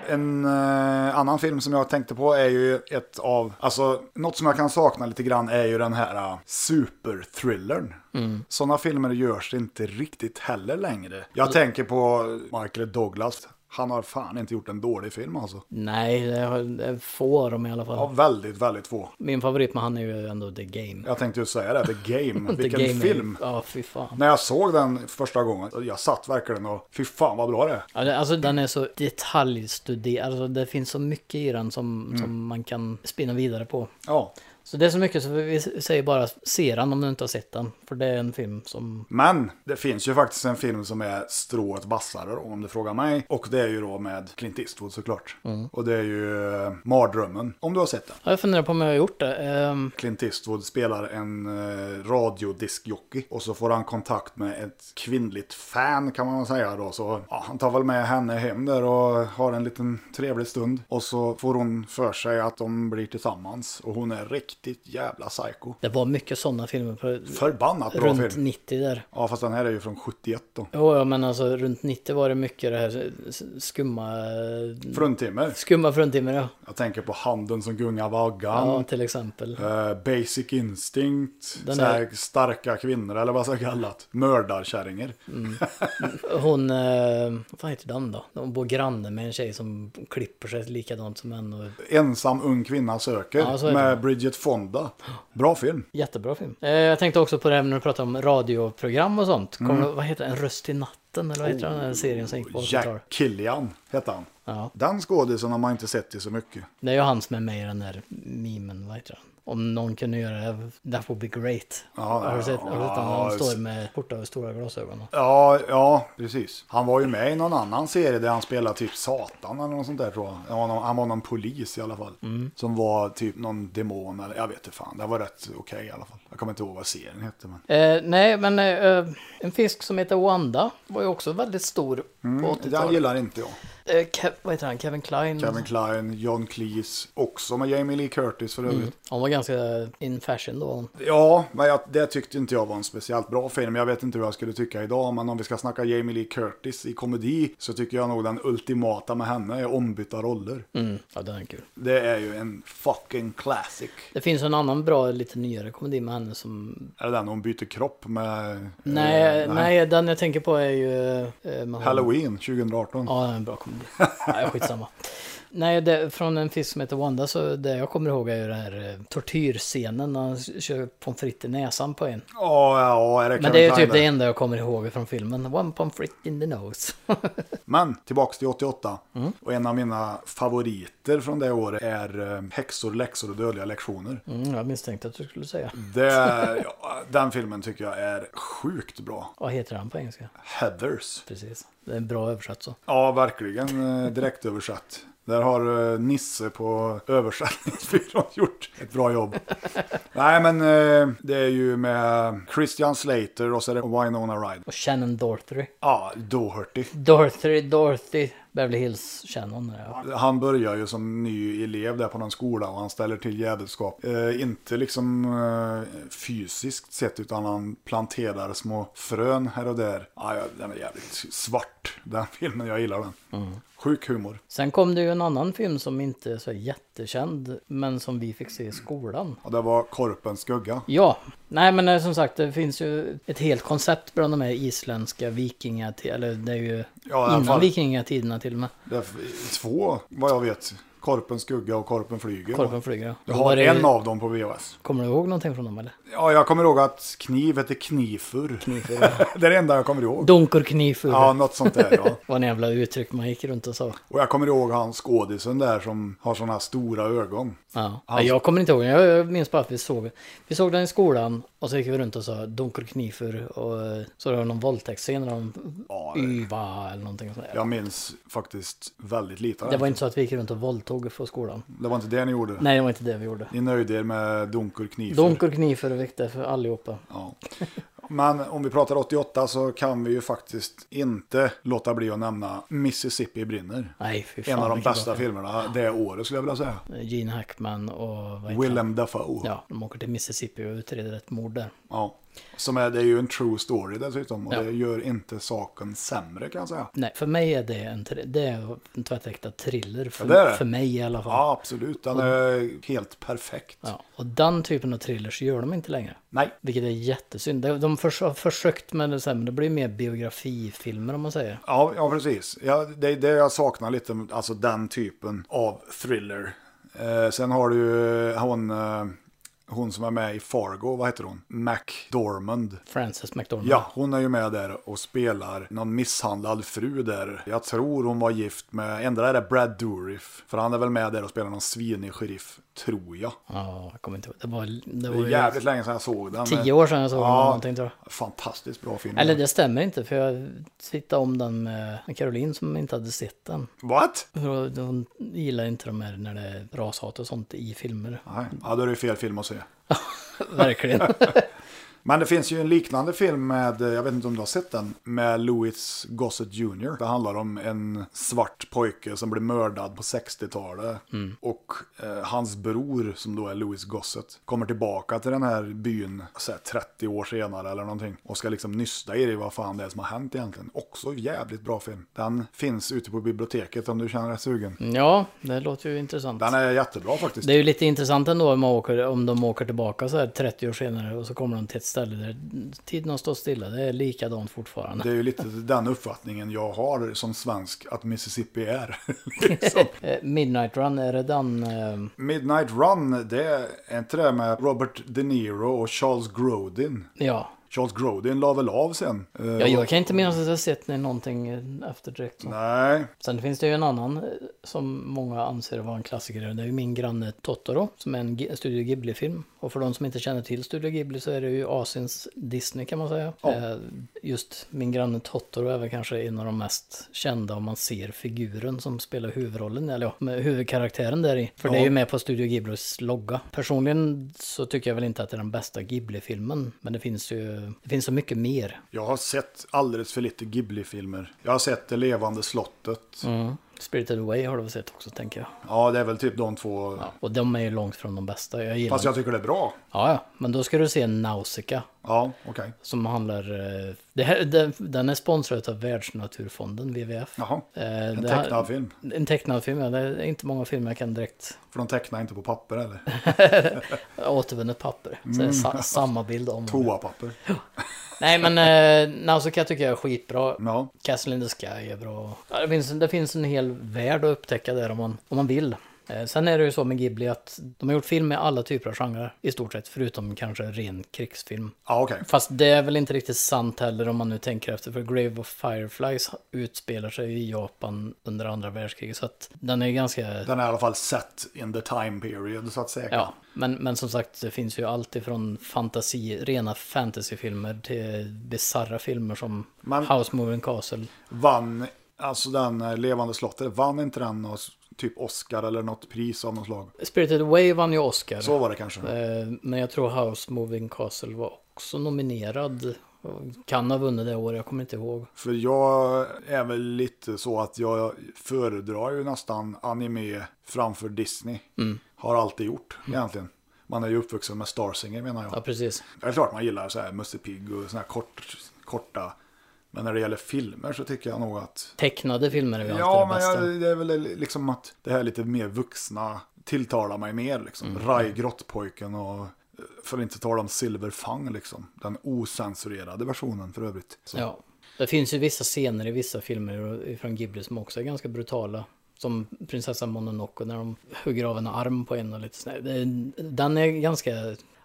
[SPEAKER 1] En eh, annan film som jag tänkte på är ju ett av... Alltså, något som jag kan sakna lite grann är ju den här uh, superthrillern.
[SPEAKER 2] Mm.
[SPEAKER 1] Sådana filmer görs inte riktigt heller längre. Jag tänker på Michael Douglas. Han har fan inte gjort en dålig film alltså.
[SPEAKER 2] Nej, det har- det är få av dem i alla fall.
[SPEAKER 1] Ja, väldigt, väldigt få.
[SPEAKER 2] Min favorit med han är ju ändå The Game.
[SPEAKER 1] Jag tänkte ju säga det, The Game.
[SPEAKER 2] The
[SPEAKER 1] Vilken
[SPEAKER 2] Game är-
[SPEAKER 1] film.
[SPEAKER 2] Ja, fy fan.
[SPEAKER 1] När jag såg den första gången, jag satt verkligen och fy fan vad bra det är.
[SPEAKER 2] Ja, det- Alltså den är så detaljstuderad, alltså, det finns så mycket i den som,
[SPEAKER 1] Mm.
[SPEAKER 2] som man kan spinna vidare på.
[SPEAKER 1] Ja.
[SPEAKER 2] Så det är så mycket så vi säger bara se den om du inte har sett den. För det är en film som...
[SPEAKER 1] Men det finns ju faktiskt en film som är strået vassare då, om du frågar mig. Och det är ju då med Clint Eastwood såklart. Och det är ju eh, Mardrömmen, om du har sett den.
[SPEAKER 2] Ja, jag funderar på om jag har gjort det. Ehm,
[SPEAKER 1] Clint Eastwood spelar en eh, radiodiskjockey och så får han kontakt med ett kvinnligt fan kan man väl säga då. Så ja, han tar väl med henne hem där och har en liten trevlig stund. Och så får hon för sig att de blir tillsammans och hon är riktigt jävla psycho.
[SPEAKER 2] det var mycket sådana filmer på,
[SPEAKER 1] Förbannat bra
[SPEAKER 2] runt
[SPEAKER 1] film.
[SPEAKER 2] 90 där.
[SPEAKER 1] Ja, fast den här är ju från 71 då.
[SPEAKER 2] Jo, ja, men alltså runt 90 var det mycket det här s- skumma...
[SPEAKER 1] Fruntimmer.
[SPEAKER 2] Skumma fruntimmer, ja.
[SPEAKER 1] Jag tänker på Handen som gungar vaggan.
[SPEAKER 2] ja. Till exempel.
[SPEAKER 1] eh, basic Instinct.
[SPEAKER 2] Den
[SPEAKER 1] så här
[SPEAKER 2] är-
[SPEAKER 1] Starka kvinnor eller vad ska jag kalla det? Mördarkärringar.
[SPEAKER 2] Mm. Hon, eh, vad fan heter den då? Hon bor granne med en tjej som klipper sig likadant som en. Och...
[SPEAKER 1] Ensam ung kvinna söker
[SPEAKER 2] Ja, så är det.
[SPEAKER 1] med Bridget Fonda. Bra film.
[SPEAKER 2] Jättebra film. Eh, jag tänkte också på det här när du pratade om radioprogram och sånt. Kommer
[SPEAKER 1] Mm.
[SPEAKER 2] du- vad heter den? En röst i natten eller vad heter den här serien som gick
[SPEAKER 1] Oh,
[SPEAKER 2] på 80-talet?
[SPEAKER 1] Jack Killian hette han.
[SPEAKER 2] Ja.
[SPEAKER 1] Den skådisen har man inte sett i så mycket.
[SPEAKER 2] Det är ju han som är med i den där memen, vad heter den? Om någon kunde göra det, that would be great. har du sett, har du sett den?
[SPEAKER 1] ja,
[SPEAKER 2] Han
[SPEAKER 1] just-
[SPEAKER 2] står med korta och stora glasögon.
[SPEAKER 1] Ja, ja, precis. Han var ju med i någon annan serie där han spelade typ Satan eller något sånt där tror jag. Han var någon, han var någon polis i alla fall.
[SPEAKER 2] Mm.
[SPEAKER 1] Som var typ någon demon eller jag vet inte fan. Det var rätt okej i alla fall. Jag kommer inte ihåg vad serien hette men.
[SPEAKER 2] Eh, nej, men eh, en fisk som heter Wanda var ju också väldigt stor på
[SPEAKER 1] Den
[SPEAKER 2] 80-talet.
[SPEAKER 1] gillar inte jag.
[SPEAKER 2] Eh, Ke- vad heter han? Kevin Klein?
[SPEAKER 1] Kevin Kline, John Cleese, också med Jamie Lee Curtis för övrigt.
[SPEAKER 2] Hon var ganska in fashion då. hon.
[SPEAKER 1] Ja, men jag, det tyckte inte jag var en speciellt bra film. Jag vet inte hur jag skulle tycka idag, men om vi ska snacka Jamie Lee Curtis i komedi så tycker jag nog den ultimata med henne är ombytta roller.
[SPEAKER 2] Mm. Ja, den är kul.
[SPEAKER 1] Det är ju en fucking classic.
[SPEAKER 2] Det finns en annan bra, lite nyare komedi med henne som...
[SPEAKER 1] Är det den hon byter kropp med? eh,
[SPEAKER 2] Nej, nej. den jag tänker på är ju... eh, med hon-
[SPEAKER 1] Halloween 2018.
[SPEAKER 2] Ja, det är en bra komedi. Nej, skitsamma. Nej, det, från en fisk som heter Wanda så det jag kommer ihåg är ju den här eh, tortyrscenen när han kör pommes frites i näsan på en.
[SPEAKER 1] Ja, ja, är det
[SPEAKER 2] Men det är ju
[SPEAKER 1] Kevin
[SPEAKER 2] typ
[SPEAKER 1] Klein
[SPEAKER 2] det
[SPEAKER 1] där?
[SPEAKER 2] enda jag kommer ihåg från filmen. One pommes frites in the nose.
[SPEAKER 1] Men tillbaks till 88. Och en av mina favoriter från det året är eh, Häxor, läxor och dödliga lektioner.
[SPEAKER 2] Mm, jag misstänkte att du skulle säga.
[SPEAKER 1] Det, ja, den filmen tycker jag är sjukt bra.
[SPEAKER 2] Vad heter han på engelska?
[SPEAKER 1] Heathers.
[SPEAKER 2] Precis. Det är bra översatt så.
[SPEAKER 1] Ja, verkligen eh, direktöversatt. Där har eh, Nisse på översättningsbyrån gjort ett bra jobb. Nej, men eh, det är ju med Christian Slater och så är det Winona Ryder.
[SPEAKER 2] Och Shannon Dorothy.
[SPEAKER 1] Ja, Doherty.
[SPEAKER 2] Dorothy, Dorothy. Beverly Hills Shannon. Ja.
[SPEAKER 1] Han börjar ju som ny elev där på någon skola och han ställer till jävelskap. Eh, inte liksom eh, fysiskt sett utan han planterar små frön här och där. Ah, ja, den är jävligt svart den filmen, jag gillar den. Sjuk humor.
[SPEAKER 2] Sen kom det ju en annan film som inte är så jättekänd. Men som vi fick se i skolan.
[SPEAKER 1] Och det var Korpens skugga.
[SPEAKER 2] Ja, nej men eh, som sagt det finns ju ett helt koncept bland de här isländska vikingatiderna. Eller det är ju
[SPEAKER 1] i alla
[SPEAKER 2] innan
[SPEAKER 1] fall.
[SPEAKER 2] vikingatiderna till och med.
[SPEAKER 1] Det är f- två, vad jag vet. Korpens skugga och Korpen flyger.
[SPEAKER 2] Korpen flyger. ja.
[SPEAKER 1] Jag
[SPEAKER 2] Då var
[SPEAKER 1] har
[SPEAKER 2] det-
[SPEAKER 1] en av dem på VHS.
[SPEAKER 2] Kommer du ihåg någonting från dem eller?
[SPEAKER 1] Ja, jag kommer ihåg att kniv hette knifur. det är det enda jag kommer ihåg.
[SPEAKER 2] Dunkerknifur.
[SPEAKER 1] Ja, något sånt där ja.
[SPEAKER 2] Vad en jävla uttryck man gick runt och sa.
[SPEAKER 1] Och jag kommer ihåg han skådisen där som har sådana stora ögon.
[SPEAKER 2] Ja.
[SPEAKER 1] Alltså-
[SPEAKER 2] Jag kommer inte ihåg, jag jag minns bara att vi såg Vi såg den i skolan och så gick vi runt och sa dunkerknifur och eh, så var det någon våldtäktsscen där de
[SPEAKER 1] Ja, det-
[SPEAKER 2] yva eller någonting sånt där.
[SPEAKER 1] Jag minns faktiskt väldigt lite av
[SPEAKER 2] Det var inte så att vi gick runt och våldtog för skolan.
[SPEAKER 1] det var inte det ni gjorde.
[SPEAKER 2] Nej, det var inte det vi gjorde.
[SPEAKER 1] Ni nöjde er med dunker knifur.
[SPEAKER 2] Dunkerknifur är viktigt för allihopa.
[SPEAKER 1] Ja. Men om vi pratar 88 så kan vi ju faktiskt inte låta bli att nämna Mississippi brinner.
[SPEAKER 2] Nej, fy fan.
[SPEAKER 1] En av de
[SPEAKER 2] vilken
[SPEAKER 1] bästa
[SPEAKER 2] bra-
[SPEAKER 1] filmerna det året skulle jag vilja säga.
[SPEAKER 2] Gene Hackman och... vad heter han?
[SPEAKER 1] Willem Dafoe. Ja.
[SPEAKER 2] Ja, de åker till Mississippi och utreder ett mord där.
[SPEAKER 1] Som är, det är ju en true story dessutom och
[SPEAKER 2] Ja.
[SPEAKER 1] det gör inte saken sämre kan jag säga.
[SPEAKER 2] Nej, för mig är det en, thr- det är en tvättäkta thriller. För,
[SPEAKER 1] Ja, det är det.
[SPEAKER 2] för mig i alla fall.
[SPEAKER 1] Ja, absolut. Den är helt perfekt.
[SPEAKER 2] Ja, och den typen av thrillers gör de inte längre.
[SPEAKER 1] Nej,
[SPEAKER 2] Vilket är jättesynd. De, de förs- har försökt med det, så här, men det blir mer biografifilmer om man säger.
[SPEAKER 1] Ja, ja precis. Ja, det är det jag saknar lite, alltså den typen av thriller. Eh, sen har du ju hon, eh, hon som är med i Fargo, vad heter hon? McDormand.
[SPEAKER 2] Frances McDormand.
[SPEAKER 1] Ja, hon är ju med där och spelar någon misshandlad fru där. Jag tror hon var gift med, ändra är det Brad Dourif. För han är väl med där och spelar någon svinig sheriff, tror jag.
[SPEAKER 2] Ja, jag kommer inte ihåg. Det var, det
[SPEAKER 1] Det
[SPEAKER 2] var
[SPEAKER 1] är jävligt länge sedan jag såg den.
[SPEAKER 2] tio år sedan jag såg
[SPEAKER 1] Ja.
[SPEAKER 2] någonting tror jag.
[SPEAKER 1] Fantastiskt bra film.
[SPEAKER 2] Eller det stämmer inte, för jag tittade om den med Caroline som inte hade sett den.
[SPEAKER 1] What?
[SPEAKER 2] Hon hon gillar inte de här när det är rashat och sånt i filmer.
[SPEAKER 1] Nej, ja, då är det ju fel film att se.
[SPEAKER 2] Verkligen.
[SPEAKER 1] Men det finns ju en liknande film med, eh, jag vet inte om du har sett den, med Louis Gossett Jr. Det handlar om en svart pojke som blir mördad på 60-talet. Och eh, hans bror, som då är Louis Gossett, kommer tillbaka till den här byn så här, 30 år senare eller någonting. Och ska liksom nysta i det, vad fan det är som har hänt egentligen. Också jävligt bra film. Den finns ute på biblioteket om du känner dig sugen.
[SPEAKER 2] ja, det låter ju intressant.
[SPEAKER 1] Den är jättebra faktiskt.
[SPEAKER 2] Det är ju lite intressant ändå om, man åker, om de åker tillbaka så här 30 år senare och så kommer de till ett ställe där tiden har stått stilla. Det är likadant fortfarande.
[SPEAKER 1] Det är ju lite den uppfattningen jag har som svensk att Mississippi är. liksom.
[SPEAKER 2] Eh, Midnight Run, är det den? Eh,
[SPEAKER 1] Midnight Run, det är är inte det med Robert De Niro och Charles Grodin?
[SPEAKER 2] ja.
[SPEAKER 1] Charles Grodin la väl av sen? Eh,
[SPEAKER 2] ja, jag kan inte minnas att jag sett någonting eh, efter direkt. så.
[SPEAKER 1] Nej,
[SPEAKER 2] Sen finns det ju en annan eh, som många anser vara en klassiker. Det är ju Min granne Totoro som är en G- Studio Ghibli-film. Och för de som inte känner till Studio Ghibli så är det ju Asiens Disney kan man säga. Eh, Just Min granne Totoro är väl kanske en av de mest kända om man ser figuren som spelar huvudrollen, eller ja, med huvudkaraktären där i. För det är ju med på Studio Ghiblis logga. Personligen så tycker jag väl inte att det är den bästa Ghibli-filmen. Men det finns ju, det finns så mycket mer.
[SPEAKER 1] jag har sett alldeles för lite Ghibli-filmer. Jag har sett Det levande slottet.
[SPEAKER 2] Mm. Spirited Away har du väl sett också tänker jag.
[SPEAKER 1] Ja, det är väl typ de två.
[SPEAKER 2] Och de är ju långt från de bästa. Jag gillar
[SPEAKER 1] Fast jag tycker det är bra.
[SPEAKER 2] Ja, ja, men då ska du se Nausicaa
[SPEAKER 1] Ja, okej.
[SPEAKER 2] som handlar... eh, Det här, den, den är sponsrad av Världsnaturfonden, WWF.
[SPEAKER 1] Jaha.
[SPEAKER 2] Eh,
[SPEAKER 1] En
[SPEAKER 2] det här-
[SPEAKER 1] tecknad film.
[SPEAKER 2] En tecknad film, ja. Det är inte många filmer jag kan direkt
[SPEAKER 1] För de tecknar inte på papper eller
[SPEAKER 2] återvunnet papper. Så
[SPEAKER 1] Mm.
[SPEAKER 2] det är sa, samma bild om. och om.
[SPEAKER 1] toapapper.
[SPEAKER 2] Nej, men eh, Nausicaa tycker jag är skitbra.
[SPEAKER 1] Ja.
[SPEAKER 2] Castle in the Sky är bra. Ja, det, finns, det finns en hel värld att upptäcka där om man, om man vill. Eh, Sen är det ju så med Ghibli att de har gjort film med alla typer av genrer i stort sett, förutom kanske ren krigsfilm.
[SPEAKER 1] Ja, okej.
[SPEAKER 2] Fast det är väl inte riktigt sant heller om man nu tänker efter. För Grave of Fireflies utspelar sig i Japan under andra världskriget. Så att den är ganska...
[SPEAKER 1] Den är i alla fall set in the time period så att säga.
[SPEAKER 2] Ja, men, men som sagt det finns ju allt ifrån fantasi, rena fantasyfilmer till bisarra filmer som
[SPEAKER 1] Man-
[SPEAKER 2] House Moving Castle.
[SPEAKER 1] Vann, alltså den eh, levande slottet, vann inte den något typ Oscar eller något pris av något slag.
[SPEAKER 2] Spirited Away vann ju Oscar.
[SPEAKER 1] Så var det kanske.
[SPEAKER 2] Eh, Men jag tror House Moving Castle var också nominerad. Och Kan ha vunnit det året, jag kommer inte ihåg.
[SPEAKER 1] För jag är väl lite så att jag föredrar ju nästan anime framför Disney. Har alltid gjort egentligen. Man är ju uppvuxen med Starsinger menar jag.
[SPEAKER 2] Ja, precis.
[SPEAKER 1] Det är klart man gillar så här Musse Pigg och såna här kort, korta. Men när det gäller filmer så tycker jag nog att
[SPEAKER 2] Tecknade filmer är väl
[SPEAKER 1] Ja,
[SPEAKER 2] alltid det
[SPEAKER 1] men
[SPEAKER 2] bästa.
[SPEAKER 1] jag, det är väl liksom att det här lite mer vuxna tilltalar mig mer. Liksom.
[SPEAKER 2] Mm.
[SPEAKER 1] Rai Grottpojken och eh, för att inte tala om Silverfang, liksom. den osensurerade versionen för övrigt. Så.
[SPEAKER 2] Ja. Det finns ju vissa scener i vissa filmer från Ghibli som också är ganska brutala. Som prinsessan Mononoke när de hugger av en arm på en och lite sådär. Det- Den är ganska...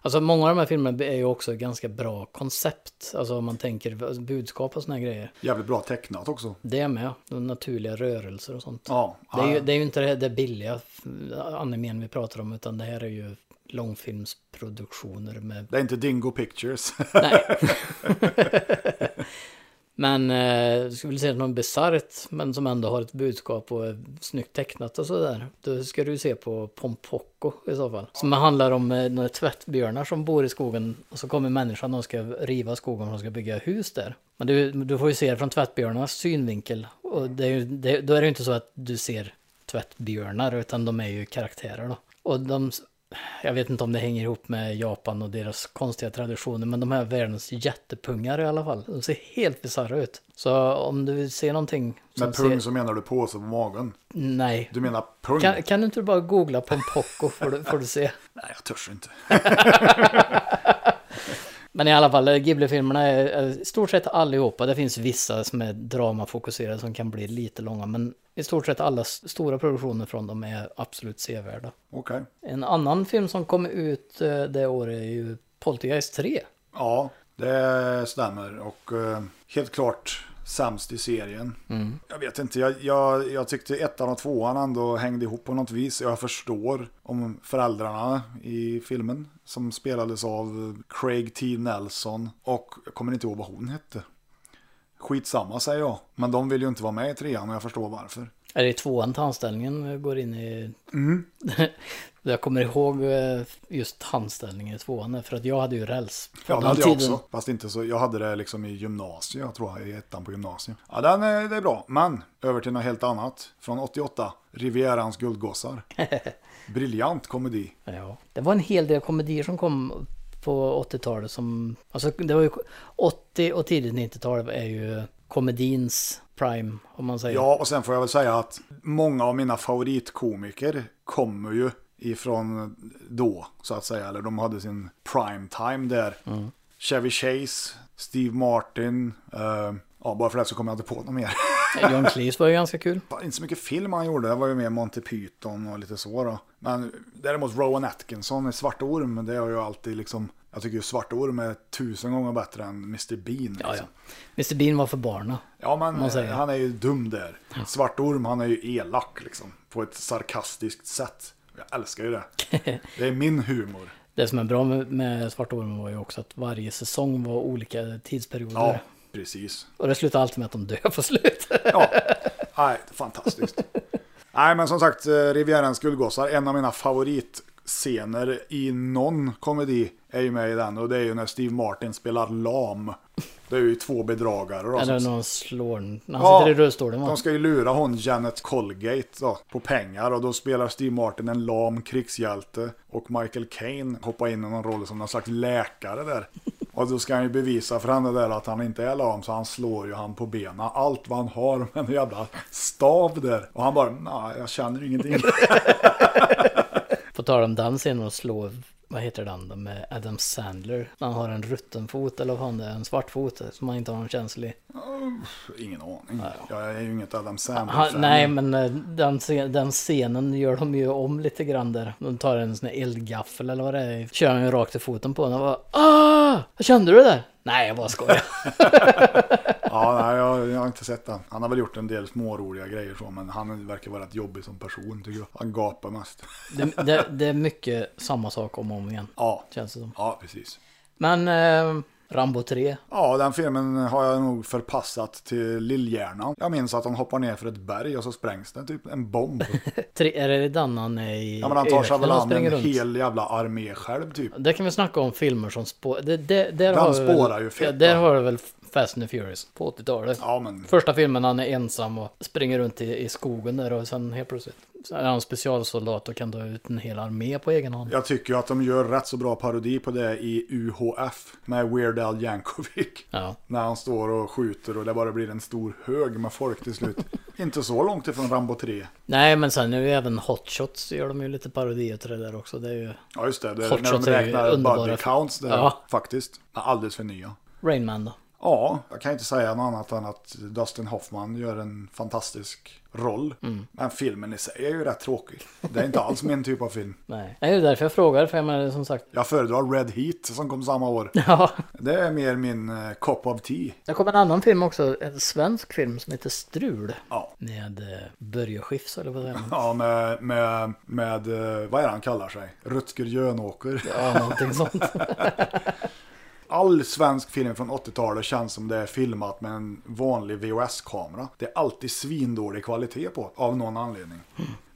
[SPEAKER 2] Alltså många av de här filmerna är ju också ganska bra koncept. Alltså om man tänker alltså, budskap och såna här grejer.
[SPEAKER 1] Jävligt bra tecknat också.
[SPEAKER 2] Det med. De naturliga rörelser och sånt.
[SPEAKER 1] Ja,
[SPEAKER 2] Det är, ju, det är ju inte det, det billiga animen vi pratar om utan det här är ju långfilmsproduktioner med...
[SPEAKER 1] det är inte Dingo Pictures.
[SPEAKER 2] Nej. men eh, du skulle säga något bisarrt men som ändå har ett budskap och är snyggt tecknat och sådär. Då ska du se på Pompoko i så fall. Som handlar om eh, några tvättbjörnar som bor i skogen och så kommer människan och ska riva skogen och ska bygga hus där. Men du, du får ju se det från tvättbjörnarnas synvinkel och det är ju, det, då är det ju inte så att du ser tvättbjörnar utan de är ju karaktärer då. Och de, jag vet inte om det hänger ihop med Japan och deras konstiga traditioner men de här är världens jättepungar i alla fall. De ser helt bisarra ut. Så om du vill se någonting som
[SPEAKER 1] Med pung
[SPEAKER 2] ser...
[SPEAKER 1] så menar du påse på magen.
[SPEAKER 2] Nej.
[SPEAKER 1] Du menar pung?
[SPEAKER 2] Kan, kan du inte bara googla på en Poco får du, får du se.
[SPEAKER 1] Nej, jag törs inte.
[SPEAKER 2] Men i alla fall, eh, Ghibli-filmerna är är i stort sett allihopa. Det finns vissa som är dramafokuserade som kan bli lite långa. Men i stort sett alla s- stora produktioner från dem är absolut sevärda.
[SPEAKER 1] Okej.
[SPEAKER 2] En annan film som kom ut eh, det året är ju Poltergeist 3.
[SPEAKER 1] Ja, det stämmer. Och eh, helt klart sämst i serien. Jag vet inte, jag, jag, jag tyckte ettan och tvåan ändå hängde ihop på något vis. Jag förstår om föräldrarna i filmen som spelades av Craig T. Nelson och jag kommer inte ihåg vad hon hette. Skitsamma säger jag, men de vill ju inte vara med i trean och jag förstår varför.
[SPEAKER 2] Är det i tvåan tandställningen eh, går in i...
[SPEAKER 1] Mm.
[SPEAKER 2] jag kommer ihåg eh, just tandställningen i tvåan eh, för att jag hade ju räls. på
[SPEAKER 1] Ja, det
[SPEAKER 2] den
[SPEAKER 1] hade jag
[SPEAKER 2] tiden.
[SPEAKER 1] också. Fast inte så. Jag hade det liksom i gymnasiet, jag tror jag, i ettan på gymnasiet. Ja, den är, det är bra. Men över till något helt annat. Från 88, Rivierans guldgossar. Briljant komedi.
[SPEAKER 2] Ja. Det var en hel del komedier som kom på 80-talet som... Alltså det var ju... 80 och tidigt 90-tal är ju komedins prime om man säger.
[SPEAKER 1] Ja, och sen får jag väl säga att många av mina favoritkomiker kommer ju ifrån då, så att säga. Eller de hade sin prime time där. Chevy Chase, Steve Martin, eh, ja, bara för det så kommer jag inte på något mer.
[SPEAKER 2] John Cleese var ju ganska kul.
[SPEAKER 1] Fan, Inte så mycket film han gjorde, det var ju mer Monty Python och lite så då. Men däremot Rowan Atkinson i Svart Orm, det har ju alltid liksom... Jag tycker ju Svart Orm är tusen gånger bättre än Mr Bean.
[SPEAKER 2] Ja, ja.
[SPEAKER 1] liksom.
[SPEAKER 2] Mr Bean var för barna.
[SPEAKER 1] ja men
[SPEAKER 2] säger.
[SPEAKER 1] eh, han är ju dum där. Svart Orm, han är ju elak liksom. På ett sarkastiskt sätt. Jag älskar ju det. Det är min humor.
[SPEAKER 2] Det som är bra med, med Svarta Ormen var ju också att varje säsong var olika tidsperioder.
[SPEAKER 1] Ja, precis.
[SPEAKER 2] Och det slutar alltid med att de dör på slutet.
[SPEAKER 1] Ja, nej, fantastiskt. Nej, men som sagt, eh, Rivierans guldgossar, en av mina favoritscener i någon komedi är ju med i den och det är ju när Steve Martin spelar lam. Det är ju två bedragare då.
[SPEAKER 2] Eller
[SPEAKER 1] som-
[SPEAKER 2] när de slår en- när han
[SPEAKER 1] Ja,
[SPEAKER 2] sitter i rullstolen.
[SPEAKER 1] De
[SPEAKER 2] va?
[SPEAKER 1] ska ju lura hon Janet Colgate då, på pengar och då spelar Steve Martin en lam krigshjälte och Michael Caine hoppar in i någon roll som någon slags läkare där. Och då ska han ju bevisa för henne där att han inte är lam så han slår ju han på benen allt vad han har med en jävla stav där. Och han bara, nej jag känner ingenting.
[SPEAKER 2] På tal om den scenen och slå, vad heter den då, med Adam Sandler. När han har en rutten fot eller vad fan det är, en svart fot som han inte har någon känslig.
[SPEAKER 1] Ingen aning. Jag är ju inget Adam Sandler
[SPEAKER 2] Han,
[SPEAKER 1] fan.
[SPEAKER 2] nej, men eh, den, scen- den scenen gör de ju om lite grann där. De tar en sån här eldgaffel eller vad det är. Kör han ju rakt i foten på honom och bara ah! Vad kände du det där? Nej, jag bara skojar.
[SPEAKER 1] Ja, nej, jag, jag har inte sett den. Han har väl gjort en del småroliga grejer så, men han verkar vara rätt jobbig som person tycker jag. Han gapar mest.
[SPEAKER 2] det, det, det är mycket samma sak om och om igen.
[SPEAKER 1] Ja,
[SPEAKER 2] Känns det som.
[SPEAKER 1] ja precis.
[SPEAKER 2] Men eh, Rambo 3.
[SPEAKER 1] Ja, den filmen har jag nog förpassat till lillhjärnan. Jag minns att han hoppar ner för ett berg och så sprängs det typ en bomb.
[SPEAKER 2] Tre, är det den han är i
[SPEAKER 1] Ja, men han tar sig
[SPEAKER 2] öknen
[SPEAKER 1] väl
[SPEAKER 2] och
[SPEAKER 1] an en
[SPEAKER 2] springer runt?
[SPEAKER 1] hel jävla armé själv typ.
[SPEAKER 2] Där kan vi snacka om filmer som spårar. Det, det, där
[SPEAKER 1] Den
[SPEAKER 2] har vi väl-
[SPEAKER 1] spårar ju fett,
[SPEAKER 2] ja, Där
[SPEAKER 1] va?
[SPEAKER 2] har du väl Fast and the Furious på 80-talet.
[SPEAKER 1] Ja, men
[SPEAKER 2] Första filmen han är ensam och springer runt i, i skogen där och sen helt plötsligt så är han specialsoldat och kan ta ut en hel armé på egen hand.
[SPEAKER 1] jag tycker ju att de gör rätt så bra parodi på det i UHF med Weird Al Yankovic.
[SPEAKER 2] Ja.
[SPEAKER 1] När han står och skjuter och det bara blir en stor hög med folk till slut. Inte så långt ifrån Rambo 3.
[SPEAKER 2] Nej men sen nu även Hot Shots gör de ju lite parodier till det där också. Det är ju
[SPEAKER 1] Ja just det, det är
[SPEAKER 2] Hot
[SPEAKER 1] när
[SPEAKER 2] shots
[SPEAKER 1] de
[SPEAKER 2] är ju
[SPEAKER 1] räknar body
[SPEAKER 2] underbara.
[SPEAKER 1] counts där.
[SPEAKER 2] Ja.
[SPEAKER 1] Faktiskt. Ja, Alldeles för nya.
[SPEAKER 2] Rain Man då.
[SPEAKER 1] Ja, jag kan inte säga något annat än att Dustin Hoffman gör en fantastisk roll. Men filmen i sig är ju rätt tråkig. Det är inte alls min typ av film.
[SPEAKER 2] Nej. Nej, det är därför jag frågar för jag menar som sagt.
[SPEAKER 1] Jag föredrar Red Heat som kom samma år.
[SPEAKER 2] Ja.
[SPEAKER 1] Det är mer min eh, cup of tea.
[SPEAKER 2] Det kom en annan film också, en svensk film som heter Strul.
[SPEAKER 1] Ja.
[SPEAKER 2] Med eh, Börje Skifs eller vad säger man?
[SPEAKER 1] Ja, med, med, med eh, vad är det han kallar sig? Rutger Jönåker.
[SPEAKER 2] Ja, någonting sånt.
[SPEAKER 1] All svensk film från 80-talet känns som det är filmat med en vanlig VHS-kamera. Det är alltid svindålig kvalitet på, av någon anledning.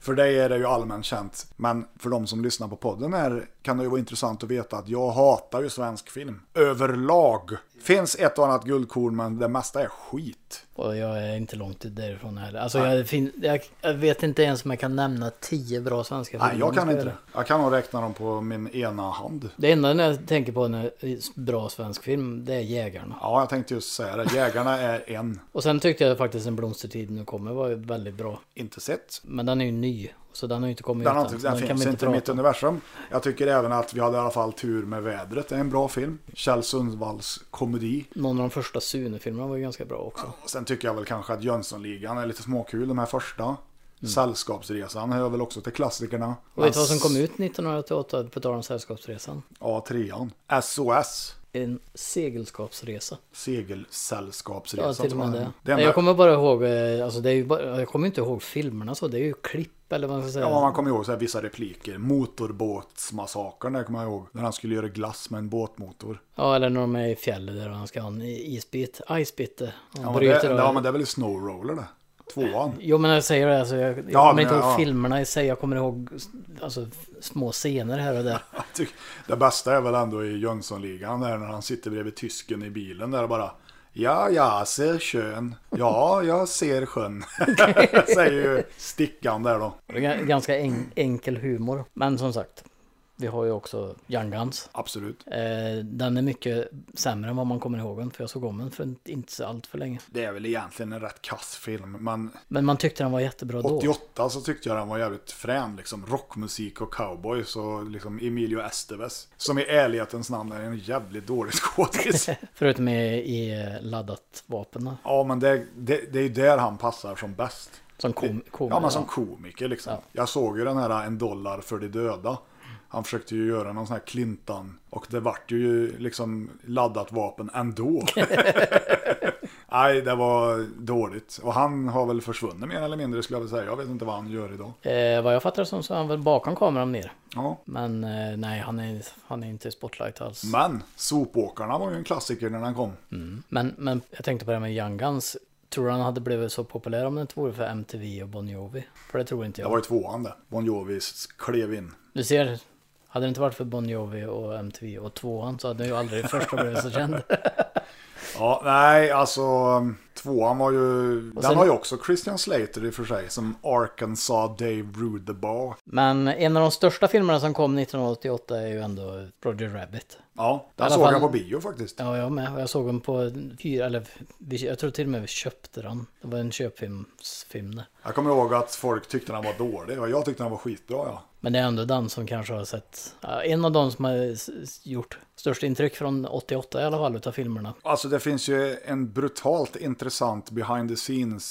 [SPEAKER 1] För dig är det ju allmänt känt, men för de som lyssnar på podden här kan det ju vara intressant att veta att jag hatar ju svensk film. Överlag. Finns ett och annat guldkorn, men det mesta är skit.
[SPEAKER 2] Och jag är inte långt därifrån heller. Alltså jag, fin- jag, jag vet inte ens om jag kan nämna tio bra svenska filmer.
[SPEAKER 1] Nej, jag kan inte
[SPEAKER 2] det.
[SPEAKER 1] det. Jag kan nog räkna dem på min ena hand.
[SPEAKER 2] Det enda när jag tänker på när bra svensk film, det är Jägarna.
[SPEAKER 1] Ja, jag tänkte just säga det. Jägarna är en.
[SPEAKER 2] Och sen tyckte jag faktiskt En blomstertid nu kommer var ju väldigt bra.
[SPEAKER 1] Inte sett.
[SPEAKER 2] Men den är ju ny. Så den har ju inte kommit
[SPEAKER 1] Den, har
[SPEAKER 2] ut än.
[SPEAKER 1] inte, den
[SPEAKER 2] så
[SPEAKER 1] finns inte i mitt
[SPEAKER 2] prata om.
[SPEAKER 1] universum. Jag tycker även att vi hade i alla fall tur med vädret. Det är en bra film. Kjell Sundvalls komedi.
[SPEAKER 2] Någon av de första Sune-filmerna var ju ganska bra också.
[SPEAKER 1] Och Sen tycker jag väl kanske att Jönssonligan är lite småkul, de här första. Sällskapsresan hör väl också till klassikerna.
[SPEAKER 2] Mm. Och vet du vad som kom ut 1988 på tal om Sällskapsresan?
[SPEAKER 1] Ja, trean. SOS.
[SPEAKER 2] En segelskapsresa.
[SPEAKER 1] Segelsällskapsresan.
[SPEAKER 2] Ja, till och med
[SPEAKER 1] tror
[SPEAKER 2] det.
[SPEAKER 1] det
[SPEAKER 2] Nej,
[SPEAKER 1] enda,
[SPEAKER 2] jag kommer bara ihåg, eh, alltså det är ju bara, jag kommer inte ihåg filmerna så, det är ju klipp eller vad man ska säga.
[SPEAKER 1] Ja, man kommer ihåg så här vissa repliker. Motorbåtsmassakern, där kommer jag ihåg. När han skulle göra glass med en båtmotor.
[SPEAKER 2] Ja, eller när de är i fjället där och han ska ha en isbit, icebite.
[SPEAKER 1] Ja,
[SPEAKER 2] Ja,
[SPEAKER 1] men det,
[SPEAKER 2] bryter och...
[SPEAKER 1] ja, men det är väl Snowroller det. Tvåan.
[SPEAKER 2] Jo, men när jag säger det, alltså, jag, jag
[SPEAKER 1] Ja,
[SPEAKER 2] kommer
[SPEAKER 1] men,
[SPEAKER 2] inte ihåg
[SPEAKER 1] ja.
[SPEAKER 2] filmerna i sig, jag kommer ihåg alltså, små scener här och där.
[SPEAKER 1] Jag tycker- Det bästa är väl ändå i Jönssonligan där när han sitter bredvid tysken i bilen där och bara Ja, jag ser sjön. Ja, jag ser sjön. Säger ju stickan där då.
[SPEAKER 2] Det är ga- ganska en, enkel humor. Men som sagt, vi har ju också Young Guns.
[SPEAKER 1] Absolut.
[SPEAKER 2] Eh, den är mycket sämre än vad man kommer ihåg den, för jag såg om den för inte- inte så allt för länge.
[SPEAKER 1] Det är väl egentligen en rätt kass film, men
[SPEAKER 2] Men man tyckte den var jättebra då.
[SPEAKER 1] 88 så tyckte jag den var jävligt frän liksom. Rockmusik och cowboys och liksom Emilio Estevez. Som i ärlighetens namn är en jävligt dålig skådis.
[SPEAKER 2] Förutom i, i eh, laddat vapen då,
[SPEAKER 1] Ja, men det, det, det är ju där han passar som bäst.
[SPEAKER 2] Som kom, kom,
[SPEAKER 1] Ja, men som komiker liksom.
[SPEAKER 2] Ja.
[SPEAKER 1] Jag såg ju den här En dollar för de döda. Han försökte ju göra någon sån här Clintan och det vart ju liksom laddat vapen ändå. Nej, det var dåligt. Och han har väl försvunnit mer eller mindre skulle jag vilja säga. Jag vet inte vad han gör idag.
[SPEAKER 2] eh, Vad jag fattar som så är han väl bakom kameran mer.
[SPEAKER 1] Ja.
[SPEAKER 2] Men eh, nej, han är, han är inte i spotlight alls.
[SPEAKER 1] Men Sopåkarna var ju en klassiker när den kom.
[SPEAKER 2] Men, men jag tänkte på det här med Young Guns. Tror du han hade blivit så populär om det inte vore för MTV och Bon Jovi? För det tror inte
[SPEAKER 1] Det
[SPEAKER 2] jag.
[SPEAKER 1] var ju tvåan det. Bon Jovi klev in.
[SPEAKER 2] Du ser, hade det inte varit för Bon Jovi och MTV och tvåan så hade ju aldrig första blivit så känd.
[SPEAKER 1] Ja, nej, alltså tvåan var ju... den
[SPEAKER 2] sen-
[SPEAKER 1] har ju också Christian Slater i och för sig som Arkansas Dave Rudebaugh.
[SPEAKER 2] Men en av de största filmerna som kom 1988 är ju ändå Roger Rabbit.
[SPEAKER 1] Ja,
[SPEAKER 2] I
[SPEAKER 1] den
[SPEAKER 2] alla
[SPEAKER 1] såg
[SPEAKER 2] fall-
[SPEAKER 1] jag på bio faktiskt.
[SPEAKER 2] Ja, jag med. Och Jag såg den på fyra, eller vi- jag tror till och med vi köpte den. Det var en köpfilmsfilm det.
[SPEAKER 1] Jag kommer ihåg att folk tyckte den var dålig och jag tyckte den var skitbra. Ja.
[SPEAKER 2] Men det är ändå den som kanske har sett, ja, en av de som har s- s- gjort störst intryck från 88 i alla fall utav filmerna.
[SPEAKER 1] Alltså det finns ju en brutalt intressant behind the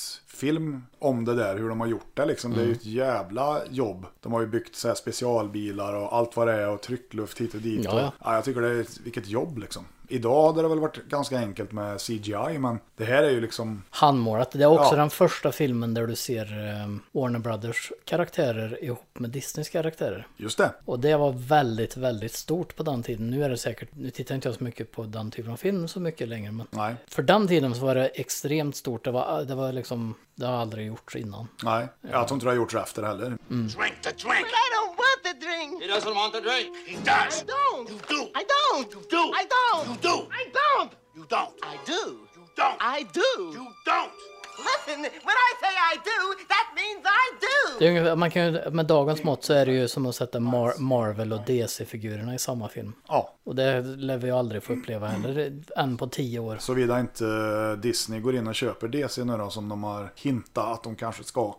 [SPEAKER 1] scenes-film om det där, hur de har gjort det liksom.
[SPEAKER 2] Mm.
[SPEAKER 1] Det är ju ett jävla jobb. De har ju byggt så här specialbilar och allt vad det är och tryckluft hit och dit.
[SPEAKER 2] Ja,
[SPEAKER 1] och,
[SPEAKER 2] ja.
[SPEAKER 1] ja jag tycker det är, ett- vilket jobb liksom. Idag hade det väl varit ganska enkelt med CGI, men det här är ju liksom...
[SPEAKER 2] Handmålat. Det är också
[SPEAKER 1] Ja.
[SPEAKER 2] den första filmen där du ser eh, Warner Brothers karaktärer ihop med Disneys karaktärer.
[SPEAKER 1] Just det.
[SPEAKER 2] Och det var väldigt, väldigt stort på den tiden. Nu är det säkert, nu tittar inte jag så mycket på den typen av film så mycket längre. Men
[SPEAKER 1] Nej,
[SPEAKER 2] för den tiden så var det extremt stort. Det var, det var liksom, det har aldrig gjorts innan.
[SPEAKER 1] nej. Jag tror inte det har gjorts efter heller.
[SPEAKER 2] Mm.
[SPEAKER 3] Drink the drink!
[SPEAKER 4] I don't want the drink.
[SPEAKER 5] He doesn't want the drink.
[SPEAKER 3] He
[SPEAKER 4] I
[SPEAKER 3] does!
[SPEAKER 4] don't.
[SPEAKER 3] You do!
[SPEAKER 4] I don't.
[SPEAKER 3] You do!
[SPEAKER 4] I don't.
[SPEAKER 3] You do!
[SPEAKER 4] I don't.
[SPEAKER 3] You don't!
[SPEAKER 4] I do.
[SPEAKER 3] You don't!
[SPEAKER 4] I do.
[SPEAKER 3] You don't!
[SPEAKER 4] Listen, when I say I do, that means I do.
[SPEAKER 2] Det är ungefär, man kan, ju- med dagens mått så är det ju som att sätta Mar- Marvel och DC-figurerna i samma film.
[SPEAKER 1] Ja,
[SPEAKER 2] Och det lär vi ju aldrig få uppleva heller, det- än på tio år.
[SPEAKER 1] såvida inte eh, Disney går in och köper DC nu då, som de har hintat att de kanske ska.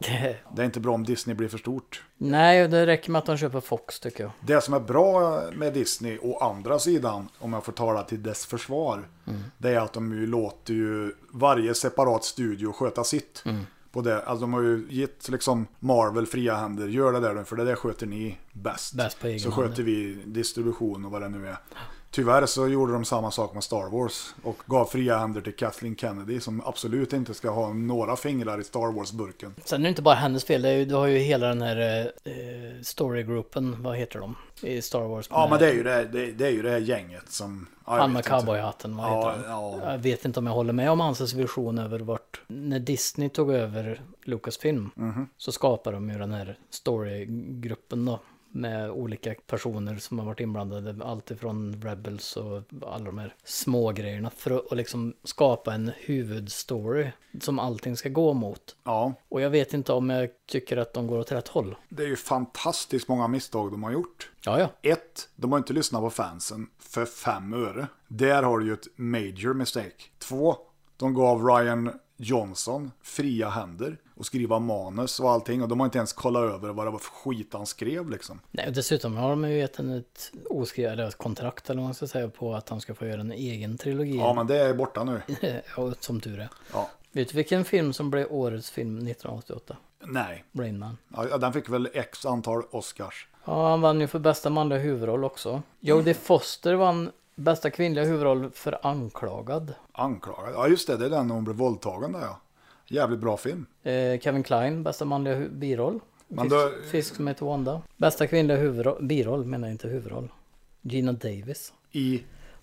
[SPEAKER 1] Det är inte bra om Disney blir för stort.
[SPEAKER 2] Nej, det räcker med att de köper Fox tycker jag.
[SPEAKER 1] Det som är bra med Disney, å andra sidan, om jag får tala till dess försvar, det är att de ju låter ju varje separat studio sköta sitt. På det. Alltså de har ju gett liksom Marvel fria händer, gör det där nu, för det där sköter ni bäst.
[SPEAKER 2] Bäst på egen
[SPEAKER 1] så
[SPEAKER 2] hand,
[SPEAKER 1] sköter vi distribution och vad det nu är. Tyvärr så gjorde de samma sak med Star Wars och gav fria händer till Kathleen Kennedy som absolut inte ska ha några fingrar i Star Wars-burken.
[SPEAKER 2] Sen är det inte bara hennes fel, det är ju, du har ju hela den här eh, storygruppen, vad heter de? I Star Wars.
[SPEAKER 1] Ja, men det är ju det, här- det, det, är ju det här gänget som... ja, jag
[SPEAKER 2] Han
[SPEAKER 1] vet
[SPEAKER 2] med
[SPEAKER 1] inte.
[SPEAKER 2] cowboyhatten, vad
[SPEAKER 1] Ja,
[SPEAKER 2] heter han?
[SPEAKER 1] ja.
[SPEAKER 2] Jag vet inte om jag håller med om hans vision över vart... När Disney tog över Lucasfilm
[SPEAKER 1] Mhm.
[SPEAKER 2] så skapade de ju den här storygruppen då. Med olika personer som har varit inblandade. Allt ifrån Rebels och alla de här små grejerna. För att och liksom skapa en huvudstory som allting ska gå mot.
[SPEAKER 1] Ja,
[SPEAKER 2] Och jag vet inte om jag tycker att de går åt rätt håll.
[SPEAKER 1] Det är ju fantastiskt många misstag de har gjort.
[SPEAKER 2] Ja, ja.
[SPEAKER 1] Ett, De har inte lyssnat på fansen för fem öre. Där har du ju ett major mistake. Två, De gav Ryan Johnson fria händer och skriva manus och allting och de har inte ens kollat över vad det var för skit han skrev liksom.
[SPEAKER 2] Nej, och dessutom har de ju gett henne ett oskrivet kontrakt eller vad man ska säga på att han ska få göra en egen trilogi.
[SPEAKER 1] Ja men det är borta nu.
[SPEAKER 2] Ja, Eh, som tur är.
[SPEAKER 1] Ja.
[SPEAKER 2] Vet du vilken film som blev årets film 1988?
[SPEAKER 1] Nej,
[SPEAKER 2] Rain Man.
[SPEAKER 1] ja, den fick väl x antal Oscars.
[SPEAKER 2] Ja, han vann ju för bästa manliga huvudroll också. Jodie
[SPEAKER 1] Mm.
[SPEAKER 2] Foster vann bästa kvinnliga huvudroll för Anklagad.
[SPEAKER 1] Anklagad. Ja just det, det är den när hon blev våldtagen där ja. Jävligt bra film.
[SPEAKER 2] Eh, Kevin Klein, bästa manliga hu- biroll. Fisk,
[SPEAKER 1] då-
[SPEAKER 2] Fisk som heter Wanda. Bästa kvinnliga huvudroll, biroll menar jag inte huvudroll. Gina Davis.
[SPEAKER 1] I...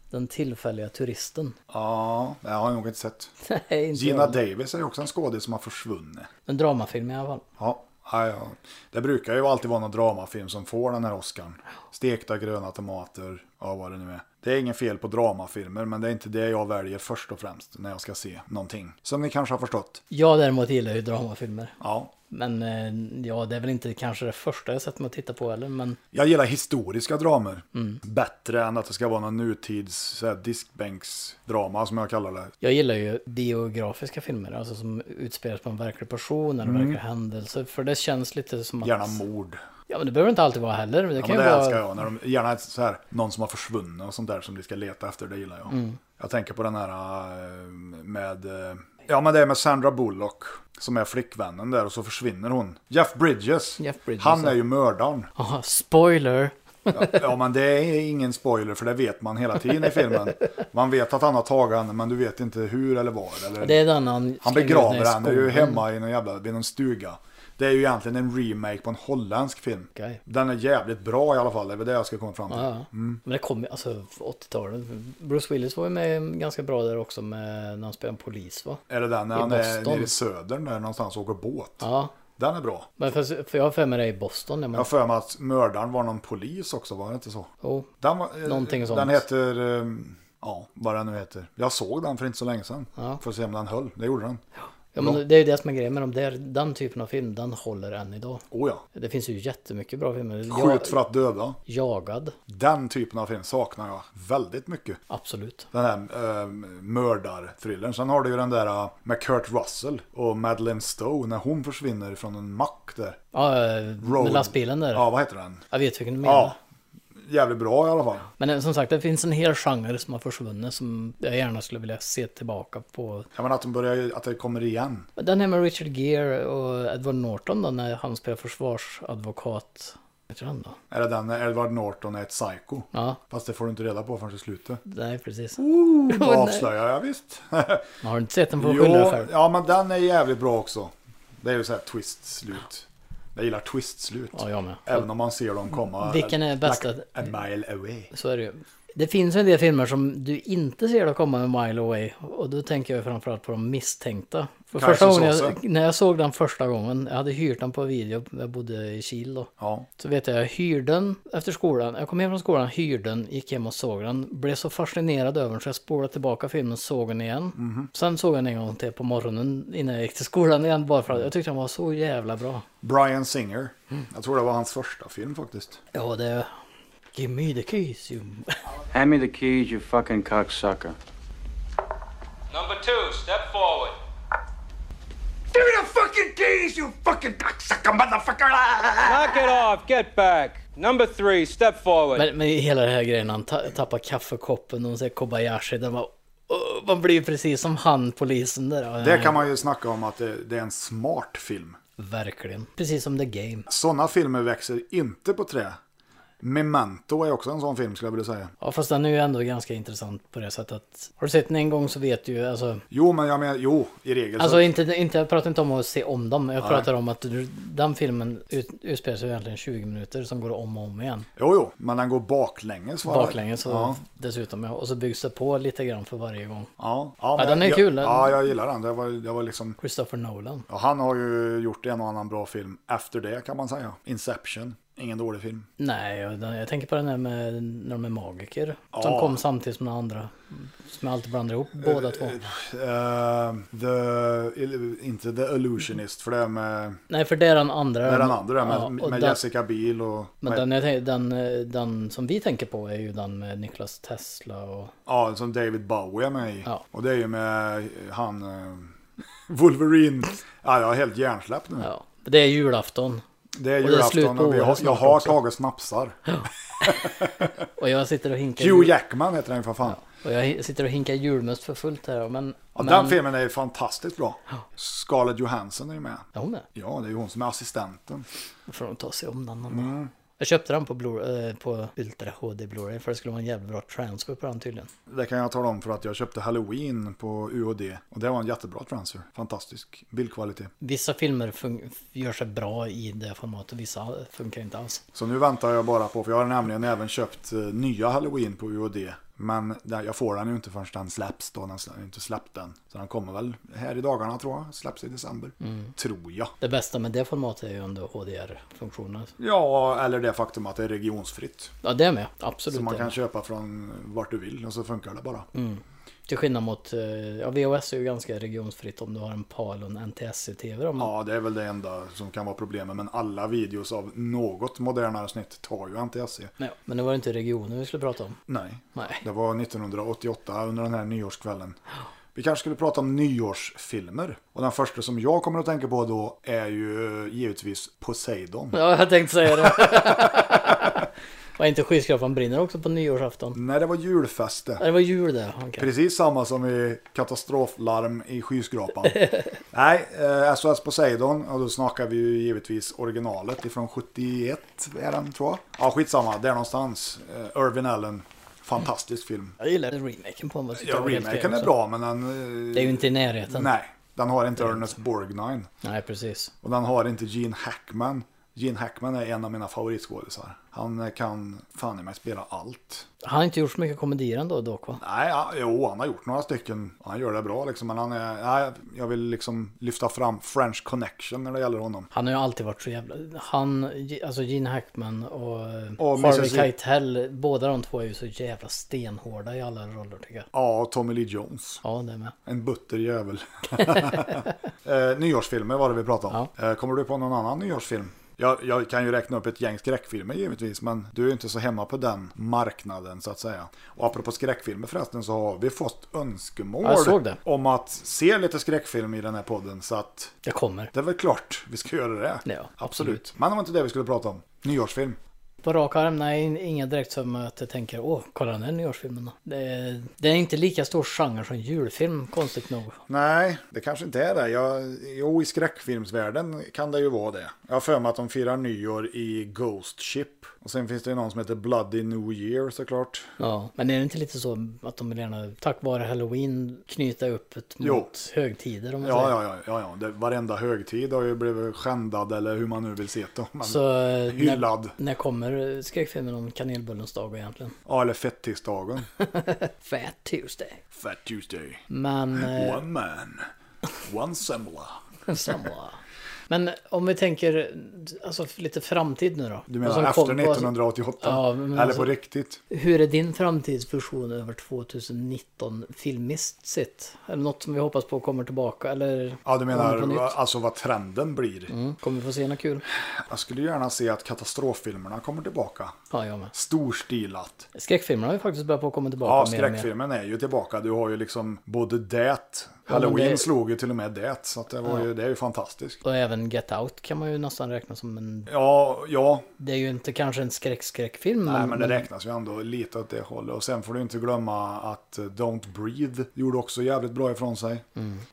[SPEAKER 2] Den tillfälliga turisten.
[SPEAKER 1] Ja, det har jag nog inte sett.
[SPEAKER 2] Nej, inte
[SPEAKER 1] Gina
[SPEAKER 2] jag.
[SPEAKER 1] Davis är ju också en skådis som har försvunnit.
[SPEAKER 2] En dramafilm i alla fall.
[SPEAKER 1] Ja, ja, ja. Det brukar ju alltid vara någon dramafilm som får den här Oscarn. Stekta gröna tomater, ja vad det nu är. Det är ingen fel på dramafilmer, men det är inte det jag väljer först och främst när jag ska se någonting. Som ni kanske har förstått.
[SPEAKER 2] Jag däremot gillar ju dramafilmer.
[SPEAKER 1] Ja.
[SPEAKER 2] Men eh, ja, det är väl inte kanske det första jag sett mig att titta på heller. Men
[SPEAKER 1] Jag gillar historiska dramer. Bättre än att det ska vara någon nutids så här, diskbänksdrama som jag kallar det.
[SPEAKER 2] Jag gillar ju biografiska filmer, alltså som utspelas på en verklig person eller verkliga händelser. För det känns lite som att...
[SPEAKER 1] Mm. Gärna mord.
[SPEAKER 2] Ja, men det behöver inte alltid vara heller. Det
[SPEAKER 1] Ja,
[SPEAKER 2] kan
[SPEAKER 1] men
[SPEAKER 2] ju
[SPEAKER 1] det
[SPEAKER 2] vara...
[SPEAKER 1] älskar jag. När de, gärna så här, någon som har försvunnit och sånt där som de ska leta efter. Det gillar jag.
[SPEAKER 2] Mm.
[SPEAKER 1] Jag tänker på den här eh, med... eh, Ja, men det är med Sandra Bullock. Som är flickvännen där och så försvinner hon. Jeff Bridges.
[SPEAKER 2] Jeff Bridges,
[SPEAKER 1] han
[SPEAKER 2] ja.
[SPEAKER 1] är ju mördaren.
[SPEAKER 2] Aha, spoiler!
[SPEAKER 1] Ja, ja, men det är ingen spoiler för det vet man hela tiden i filmen. Man vet att han har tagit henne men du vet inte hur eller var. Eller...
[SPEAKER 2] Det är den han...
[SPEAKER 1] Han
[SPEAKER 2] slänger ut ner i
[SPEAKER 1] begraver henne ju
[SPEAKER 2] skogen.
[SPEAKER 1] hemma i någon jävla, vid någon stuga. Det är ju egentligen en remake på en holländsk film.
[SPEAKER 2] Okej.
[SPEAKER 1] Den är jävligt bra i alla fall, det är väl det jag ska komma fram till.
[SPEAKER 2] Ja, ja. Men det kom ju, alltså 80-talet. Bruce Willis var ju med ganska bra där också med, när han spelade en polis va?
[SPEAKER 1] Är det den när
[SPEAKER 2] I
[SPEAKER 1] han är
[SPEAKER 2] Boston.
[SPEAKER 1] nere i södern där någonstans och åker båt?
[SPEAKER 2] Ja,
[SPEAKER 1] Den är bra.
[SPEAKER 2] men för, för jag har för mig det i Boston. Ja,
[SPEAKER 1] Jag
[SPEAKER 2] men,
[SPEAKER 1] har för mig att mördaren var någon polis också, var det inte så?
[SPEAKER 2] oh,
[SPEAKER 1] Den, var, eh,
[SPEAKER 2] Någonting sånt.
[SPEAKER 1] Den heter... eh, Ja, vad den nu heter. Jag såg den för inte så länge sedan.
[SPEAKER 2] Ja.
[SPEAKER 1] För att se om den höll. Det gjorde den.
[SPEAKER 2] ja, men det är ju det som är grejen med dem. Det är, den typen av film, den håller än idag.
[SPEAKER 1] Oh ja.
[SPEAKER 2] Det finns ju jättemycket bra filmer.
[SPEAKER 1] Skjut för att döda.
[SPEAKER 2] Jagad,
[SPEAKER 1] Den typen av film saknar jag väldigt mycket.
[SPEAKER 2] absolut.
[SPEAKER 1] Den här äh, mördarthrillern. Sen har du ju den där eh, med Kurt Russell och Madeleine Stowe när hon försvinner från en mack där.
[SPEAKER 2] Ja, eh, med lastbilen där.
[SPEAKER 1] Ja, vad heter den?
[SPEAKER 2] Jag vet vilken du menar.
[SPEAKER 1] Ja, jävligt bra i alla fall.
[SPEAKER 2] Men eh, som sagt, det finns en hel genre som har försvunnit som jag gärna skulle vilja se tillbaka på.
[SPEAKER 1] Ja, men att, de börjar, att det kommer igen.
[SPEAKER 2] Den här med Richard Gere och Edward Norton då, när han spelar försvarsadvokat. Heter han då?
[SPEAKER 1] Är det den när Edward Norton är ett psycho?
[SPEAKER 2] Ja,
[SPEAKER 1] Fast det får du inte reda på förrän i slutet.
[SPEAKER 2] nej precis.
[SPEAKER 1] Ooh, då
[SPEAKER 2] nej.
[SPEAKER 1] avslöjar jag visst.
[SPEAKER 2] Har du inte sett den får du skylla dig
[SPEAKER 1] jo,
[SPEAKER 2] själv.
[SPEAKER 1] ja men den är jävligt bra också. Det är ju såhär twist-slut. Jag gillar twist-slut.
[SPEAKER 2] Ja, jag med.
[SPEAKER 1] Även om man ser dem komma.
[SPEAKER 2] Vilken är bästa?
[SPEAKER 1] Like a mile away.
[SPEAKER 2] Så är det ju. Det finns ju en del filmer som du inte ser då komma en mile away. Och då tänker jag framförallt på de misstänkta. För
[SPEAKER 1] Kajsa
[SPEAKER 2] första gången jag,
[SPEAKER 1] Såse.
[SPEAKER 2] när jag såg den första gången, jag hade hyrt den på video, jag bodde i Kil då.
[SPEAKER 1] Ja.
[SPEAKER 2] Så vet jag, jag hyrde den efter skolan. Jag kom hem från skolan, hyrde den, gick hem och såg den. Blev så fascinerad över den så jag spolade tillbaka filmen, såg den igen. Sen såg jag den en gång till på morgonen innan jag gick till skolan igen. Bara för att jag tyckte den var så jävla bra.
[SPEAKER 1] Brian Singer. Jag tror det var hans första film faktiskt.
[SPEAKER 2] Ja, det... Give me the keys you...
[SPEAKER 5] Hand me the keys, you fucking cocksucker.
[SPEAKER 6] Number two, step forward.
[SPEAKER 7] Give me the fucking keys, you fucking cocksucker motherfucker!
[SPEAKER 6] Knock it off, get back. Number three, step forward.
[SPEAKER 2] Men, men hela den här grejen, han ta- tappar kaffekoppen och hon säger Kobayashi. Den var... Åh, man blir ju precis som han, polisen där.
[SPEAKER 1] Det kan man ju snacka om att det, det är en smart film.
[SPEAKER 2] Verkligen. Precis som The Game.
[SPEAKER 1] Sådana filmer växer inte på trä. Memento är också en sån film skulle jag vilja säga.
[SPEAKER 2] Ja, fast den är ju ändå ganska intressant på det sättet att... Har du sett den en gång så vet du ju, alltså...
[SPEAKER 1] Jo, men jag menar, jo, i regel.
[SPEAKER 2] Alltså
[SPEAKER 1] så,
[SPEAKER 2] inte, inte, jag pratar inte om att se om dem. Jag pratar om att du- den filmen ut, utspelar sig egentligen 20 minuter som går om och om igen.
[SPEAKER 1] jo, jo, men den går baklänges. va?
[SPEAKER 2] Baklänges så
[SPEAKER 1] Ja,
[SPEAKER 2] dessutom. ja. Och så byggs det på lite grann för varje gång.
[SPEAKER 1] ja, ja,
[SPEAKER 2] den är
[SPEAKER 1] jag,
[SPEAKER 2] kul, den.
[SPEAKER 1] Ja, jag gillar den. Det var, det var liksom,
[SPEAKER 2] Christopher Nolan.
[SPEAKER 1] ja, han har ju gjort en och annan bra film efter det kan man säga. Inception, ingen dålig film.
[SPEAKER 2] Nej, jag, den- jag tänker på den här med när de är magiker. Som
[SPEAKER 1] Ja.
[SPEAKER 2] kom samtidigt som den andra. Som jag alltid blandar ihop båda två.
[SPEAKER 1] Eh, the, inte The Illusionist, för det är med,
[SPEAKER 2] Nej, för det är den andra.
[SPEAKER 1] med den andra, med,
[SPEAKER 2] Ja, och
[SPEAKER 1] med
[SPEAKER 2] den,
[SPEAKER 1] Jessica Biel och...
[SPEAKER 2] Men
[SPEAKER 1] vad-
[SPEAKER 2] den, jag tänker, den, eh, den som vi tänker på är ju den med Niklas Tesla och...
[SPEAKER 1] Ja, som David Bowie är med i.
[SPEAKER 2] Ja.
[SPEAKER 1] Och det är ju med han... eh, Wolverine. Ja, jag är helt hjärnsläpp nu.
[SPEAKER 2] Ja, det är julafton.
[SPEAKER 1] Det är
[SPEAKER 2] Och det är slut
[SPEAKER 1] julafton
[SPEAKER 2] på
[SPEAKER 1] och vi har,
[SPEAKER 2] året
[SPEAKER 1] jag
[SPEAKER 2] snart
[SPEAKER 1] har
[SPEAKER 2] också.
[SPEAKER 1] tagit snapsar.
[SPEAKER 2] Och jag sitter och hinkar... jul-
[SPEAKER 1] Hugh Jackman heter den för fan.
[SPEAKER 2] Och jag sitter och hinkar julmust för fullt här. Men,
[SPEAKER 1] Ja,
[SPEAKER 2] men,
[SPEAKER 1] Den filmen är ju fantastiskt bra. Scarlett Johansson är ju med.
[SPEAKER 2] Ja, hon är.
[SPEAKER 1] Ja, det är ju hon som är assistenten.
[SPEAKER 2] Då får de ta sig om den någon
[SPEAKER 1] Mm.
[SPEAKER 2] dag. Jag köpte den på, Blu- eh, på Ultra HD Blu-ray för det skulle vara en jävligt bra transfer på den tydligen.
[SPEAKER 1] Det kan jag tala om för att jag köpte Halloween på UHD. Och det var en jättebra transfer. Fantastisk bildkvalitet.
[SPEAKER 2] Vissa filmer fun- gör sig bra i det formatet, vissa funkar inte alls.
[SPEAKER 1] Så nu väntar jag bara på, för jag har nämligen även köpt eh, nya Halloween på UOD. Men där, jag får den ju inte förrän den släpps då, den har inte släppt den. Så den kommer väl här i dagarna tror jag, släpps i december.
[SPEAKER 2] Mm.
[SPEAKER 1] Tror jag.
[SPEAKER 2] Det bästa med det formatet är ju ändå HDR-funktionen.
[SPEAKER 1] Ja, eller det faktum att det är regionsfritt.
[SPEAKER 2] Ja, det är med.
[SPEAKER 1] Så
[SPEAKER 2] Absolut.
[SPEAKER 1] man
[SPEAKER 2] det.
[SPEAKER 1] kan köpa från vart du vill och så funkar det bara.
[SPEAKER 2] Till skillnad mot, eh, ja, VHS är ju ganska regionsfritt om du har en PAL och en NTSC-TV. Om...
[SPEAKER 1] Ja, det är väl det enda som kan vara problemet. Men alla videos av något modernare snitt tar ju NTSC.
[SPEAKER 2] Ja, men det var ju inte regionen vi skulle prata om.
[SPEAKER 1] Nej.
[SPEAKER 2] Nej.
[SPEAKER 1] Det var 1988 under den här nyårskvällen. Vi kanske skulle prata om nyårsfilmer. Och den första som jag kommer att tänka på då är ju eh, givetvis Poseidon.
[SPEAKER 2] Ja, jag tänkte säga det. Var inte skyskrapan brinner också på nyårsafton?
[SPEAKER 1] Nej, det var eh,
[SPEAKER 2] Ja,
[SPEAKER 1] julfeste.
[SPEAKER 2] det var jul det. Okay.
[SPEAKER 1] Mm. Precis samma som i katastroflarm i skyskrapan. Nej, eh, SOS Poseidon. Och då snackar vi ju givetvis originalet ifrån 71 är den tror jag. Ja, skitsamma. Där någonstans. Eh, Irvin Allen. Fantastisk film.
[SPEAKER 2] Jag gillar remaken på den.
[SPEAKER 1] Ja, remaken är bra men den... eh,
[SPEAKER 2] Det är ju inte i närheten.
[SPEAKER 1] Nej, den har inte Ernest Borgnine.
[SPEAKER 2] Nej, precis.
[SPEAKER 1] Och den har inte Gene Hackman. Gene Hackman är en av mina favoritskådisar. Han kan fan i mig spela allt.
[SPEAKER 2] Han har inte gjort så mycket komedier ändå dock va?
[SPEAKER 1] Nej, ja, jo, han har gjort några stycken. Han gör det bra liksom, men han är... Nej, jag vill liksom lyfta fram French Connection när det gäller honom.
[SPEAKER 2] Han har ju alltid varit så jävla... Han, alltså Gene Hackman och, eh,
[SPEAKER 1] Och
[SPEAKER 2] Harvey
[SPEAKER 1] Mrs.
[SPEAKER 2] Keitel, båda de två är ju så jävla stenhårda i alla roller tycker jag.
[SPEAKER 1] Ja, och Tommy Lee Jones.
[SPEAKER 2] Ja, det med.
[SPEAKER 1] En butter jävel. eh, nyårsfilmer var det vi pratade om. Eh, kommer du på någon annan nyårsfilm? Jag, jag kan ju räkna upp ett gäng skräckfilmer givetvis, men du är ju inte så hemma på den marknaden så att säga. Och apropå skräckfilmer förresten så har vi fått önskemål
[SPEAKER 2] Ja, jag såg det.
[SPEAKER 1] om att se lite skräckfilm i den här podden. Så att
[SPEAKER 2] Det kommer.
[SPEAKER 1] det är väl klart vi ska göra det.
[SPEAKER 2] Ja,
[SPEAKER 1] absolut. Men det var inte det vi skulle prata om. Nyårsfilm.
[SPEAKER 2] På rak arm, nej, inga direkt som att jag tänker åh, kolla den här nyårsfilmen då. Det är, det är inte lika stor genre som julfilm, konstigt nog.
[SPEAKER 1] Nej, det kanske inte är det. Jag, jo, i skräckfilmsvärlden kan det ju vara det. Jag har för mig att de firar nyår i Ghost Ship. Och sen finns det ju någon som heter Bloody New Year såklart.
[SPEAKER 2] Ja, men är det inte lite så att de vill gärna tack vare halloween knyta upp ett
[SPEAKER 1] Jo.
[SPEAKER 2] mot högtider om man
[SPEAKER 1] Ja,
[SPEAKER 2] säger?
[SPEAKER 1] ja, ja. ja, ja. Det, varenda högtid har ju blivit skändad eller hur man nu vill se det. Men,
[SPEAKER 2] Så eh,
[SPEAKER 1] Hyllad.
[SPEAKER 2] När, när kommer skräckfilmen om kanelbullens dag egentligen?
[SPEAKER 1] Ja, eller fettisdagen.
[SPEAKER 2] Fat Tuesday.
[SPEAKER 1] Fat Tuesday.
[SPEAKER 2] Men... eh,
[SPEAKER 1] One man. One semla.
[SPEAKER 2] Samma. Men om vi tänker alltså, lite framtid nu då.
[SPEAKER 1] Du menar
[SPEAKER 2] Vad som
[SPEAKER 1] efter
[SPEAKER 2] kom- vad som-
[SPEAKER 1] 1988?
[SPEAKER 2] Ja, men
[SPEAKER 1] eller
[SPEAKER 2] alltså-
[SPEAKER 1] på riktigt?
[SPEAKER 2] Hur är din framtidsvision över 2019 filmiskt sett? Är det något som vi hoppas på kommer tillbaka eller?
[SPEAKER 1] Ja, du
[SPEAKER 2] kommer på nytt?
[SPEAKER 1] menar alltså vad trenden blir?
[SPEAKER 2] Mm, kommer vi få se något kul?
[SPEAKER 1] Jag skulle gärna se att katastroffilmerna kommer tillbaka.
[SPEAKER 2] Ja, jag med.
[SPEAKER 1] Storstilat.
[SPEAKER 2] Skräckfilmerna har ju faktiskt börjat på att komma tillbaka
[SPEAKER 1] Ja,
[SPEAKER 2] mer och mer.
[SPEAKER 1] skräckfilmen är ju tillbaka. Du har ju liksom både det.
[SPEAKER 2] men
[SPEAKER 1] Halloween
[SPEAKER 2] det-
[SPEAKER 1] slog ju till och med det. Så att det, var ju, det är ju fantastiskt.
[SPEAKER 2] Och även Get Out kan man ju nästan räkna som en...
[SPEAKER 1] Ja, ja.
[SPEAKER 2] Det är ju inte kanske en skräck-skräckfilm.
[SPEAKER 1] Nej, men det räknas ju ändå lite åt det hållet. Och sen får du inte glömma att eh, Don't Breathe gjorde också jävligt bra ifrån sig.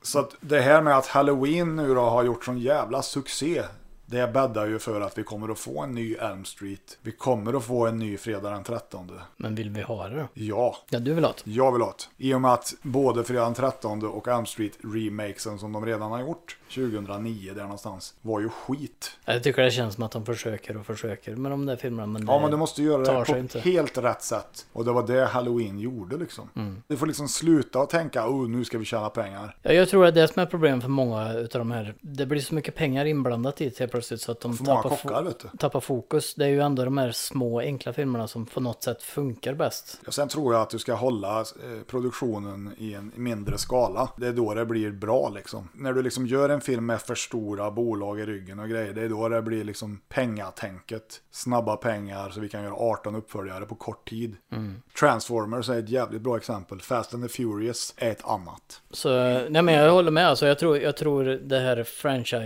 [SPEAKER 1] Så att det här med att Halloween nu då har gjort sån jävla succé. Det bäddar ju för att vi kommer att få en ny Elm Street. Vi kommer att få en ny Fredag den 13.
[SPEAKER 2] men vill vi ha det då?
[SPEAKER 1] Ja,
[SPEAKER 2] Ja, du vill ha det.
[SPEAKER 1] jag vill ha det. I och med att både Fredag den 13 och Elm Street remakesen som de redan har gjort 2009 där någonstans var ju skit.
[SPEAKER 2] Jag tycker det känns som att de försöker och försöker med de där filmerna. Men
[SPEAKER 1] Ja,
[SPEAKER 2] det
[SPEAKER 1] men du måste göra
[SPEAKER 2] Eh, tar
[SPEAKER 1] det på
[SPEAKER 2] sig inte.
[SPEAKER 1] helt rätt sätt. Och det var det Halloween gjorde liksom.
[SPEAKER 2] Mm.
[SPEAKER 1] Du får liksom sluta att tänka, oh, nu ska vi tjäna pengar.
[SPEAKER 2] Ja, jag tror att det är det som är problemet för många utav de här. Det blir så mycket pengar inblandat i det helt plötsligt så att de
[SPEAKER 1] För många
[SPEAKER 2] tappar, fo-
[SPEAKER 1] kockar, vet du.
[SPEAKER 2] tappar fokus. Det är ju ändå de här små enkla filmerna som på något sätt funkar bäst.
[SPEAKER 1] Och sen tror jag att du ska hålla eh, produktionen i en mindre skala. Det är då det blir bra liksom. När du liksom gör en film med för stora bolag i ryggen och grejer, det är då det blir liksom pengatänket. Snabba pengar så vi kan göra 18 uppföljare på kort tid.
[SPEAKER 2] Mm.
[SPEAKER 1] Transformers är ett jävligt bra exempel. Fast and the Furious är ett annat.
[SPEAKER 2] Så nej, men jag håller med. Alltså, jag, tror, jag tror det här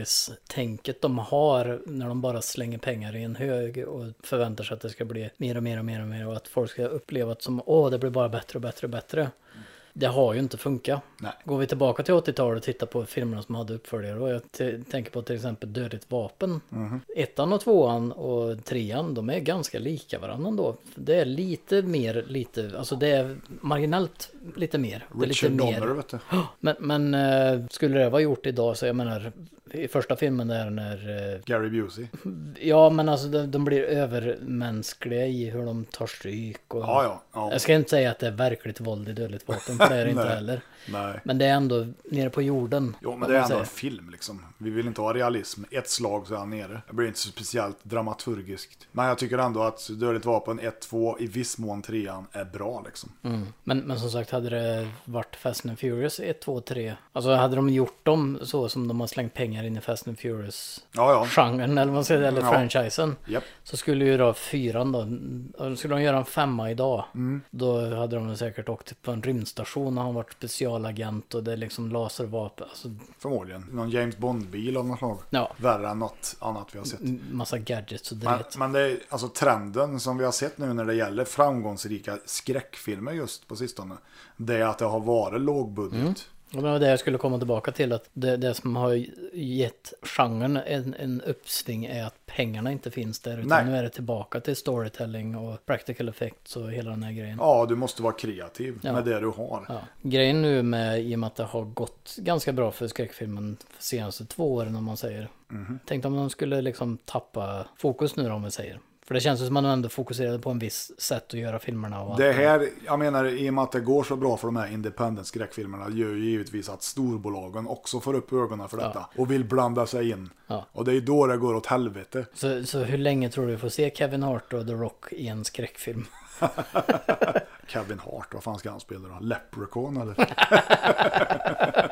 [SPEAKER 2] franchise-tänket de har när de bara slänger pengar i en hög och förväntar sig att det ska bli mer och mer och mer och mer och att folk ska uppleva att som åh, det blir bara bättre och bättre och bättre. Det har ju inte funkat.
[SPEAKER 1] Nej.
[SPEAKER 2] Går vi tillbaka till 80-talet och tittar på filmerna som hade uppföljare och jag t- tänker på till exempel Dödligt vapen. Ettan och tvåan och trean, de är ganska lika varandra då. Det är lite mer, lite, alltså det är marginellt lite mer. det är lite
[SPEAKER 1] Richard Donner,
[SPEAKER 2] mer.
[SPEAKER 1] vet du.
[SPEAKER 2] Men, men eh, skulle det vara gjort idag så jag menar, i första filmen där när eh,
[SPEAKER 1] Gary Busey.
[SPEAKER 2] Ja, men alltså de, de blir övermänskliga i hur de tar stryk och...
[SPEAKER 1] Ja, ja, ja.
[SPEAKER 2] Jag ska inte säga att det är verkligt våld i Dödligt vapen, för det är det inte
[SPEAKER 1] Nej.
[SPEAKER 2] heller.
[SPEAKER 1] Nej.
[SPEAKER 2] Men det är ändå nere på jorden.
[SPEAKER 1] Jo, men
[SPEAKER 2] vad
[SPEAKER 1] det är
[SPEAKER 2] man
[SPEAKER 1] ändå en
[SPEAKER 2] säger.
[SPEAKER 1] film liksom. Vi vill inte ha realism. Ett slag så är han nere. Det blir inte så speciellt dramaturgiskt. Men jag tycker ändå att Dödligt vapen 1, 2, i viss mån 3 är bra liksom.
[SPEAKER 2] Mm. men, men som sagt, hade det varit Fast and Furious 1, 2, 3. Alltså hade de gjort dem så som de har slängt pengar in i Fast and Furious
[SPEAKER 1] Ja, ja.
[SPEAKER 2] genren eller vad man säger, eller
[SPEAKER 1] Ja.
[SPEAKER 2] franchisen.
[SPEAKER 1] Japp.
[SPEAKER 2] Så skulle ju då fyran då, och skulle de göra en femma idag,
[SPEAKER 1] Mm.
[SPEAKER 2] då hade de säkert åkt på en rymdstation och han varit specialagent och det är liksom laservapen, alltså
[SPEAKER 1] Förmodligen. Någon James Bond-bil av något slag.
[SPEAKER 2] Ja. Mm,
[SPEAKER 1] Värre än något annat vi har sett.
[SPEAKER 2] m- massa gadgets och
[SPEAKER 1] Men,
[SPEAKER 2] dret.
[SPEAKER 1] men det är alltså trenden som vi har sett nu när det gäller framgångsrika skräckfilmer just på sistone. Det är att det har varit lågbudget.
[SPEAKER 2] Och Det var det jag skulle komma tillbaka till, att det, det som har gett genren en, en uppsving är att pengarna inte finns där, utan
[SPEAKER 1] Nej.
[SPEAKER 2] nu är det tillbaka till storytelling och practical effects och hela den här grejen.
[SPEAKER 1] Ja, du måste vara kreativ
[SPEAKER 2] Ja.
[SPEAKER 1] med det du har.
[SPEAKER 2] Ja. Grejen nu med, i och med att det har gått ganska bra för skräckfilmen de senaste två åren om man säger.
[SPEAKER 1] Mhm.
[SPEAKER 2] Tänk om de skulle liksom tappa fokus nu då, om vi säger. För det känns ju som att de ändå fokuserade på en viss sätt att göra filmerna. Och
[SPEAKER 1] Det här, jag menar i och med att det går så bra för de här independent skräckfilmerna gör ju givetvis att storbolagen också får upp ögonen för detta och vill blanda sig in.
[SPEAKER 2] Ja.
[SPEAKER 1] Och det är då det går åt helvete.
[SPEAKER 2] så, så hur länge tror du vi får se Kevin Hart och The Rock i en skräckfilm?
[SPEAKER 1] Kevin Hart, vad fan ska han spela då? Leprechaun eller?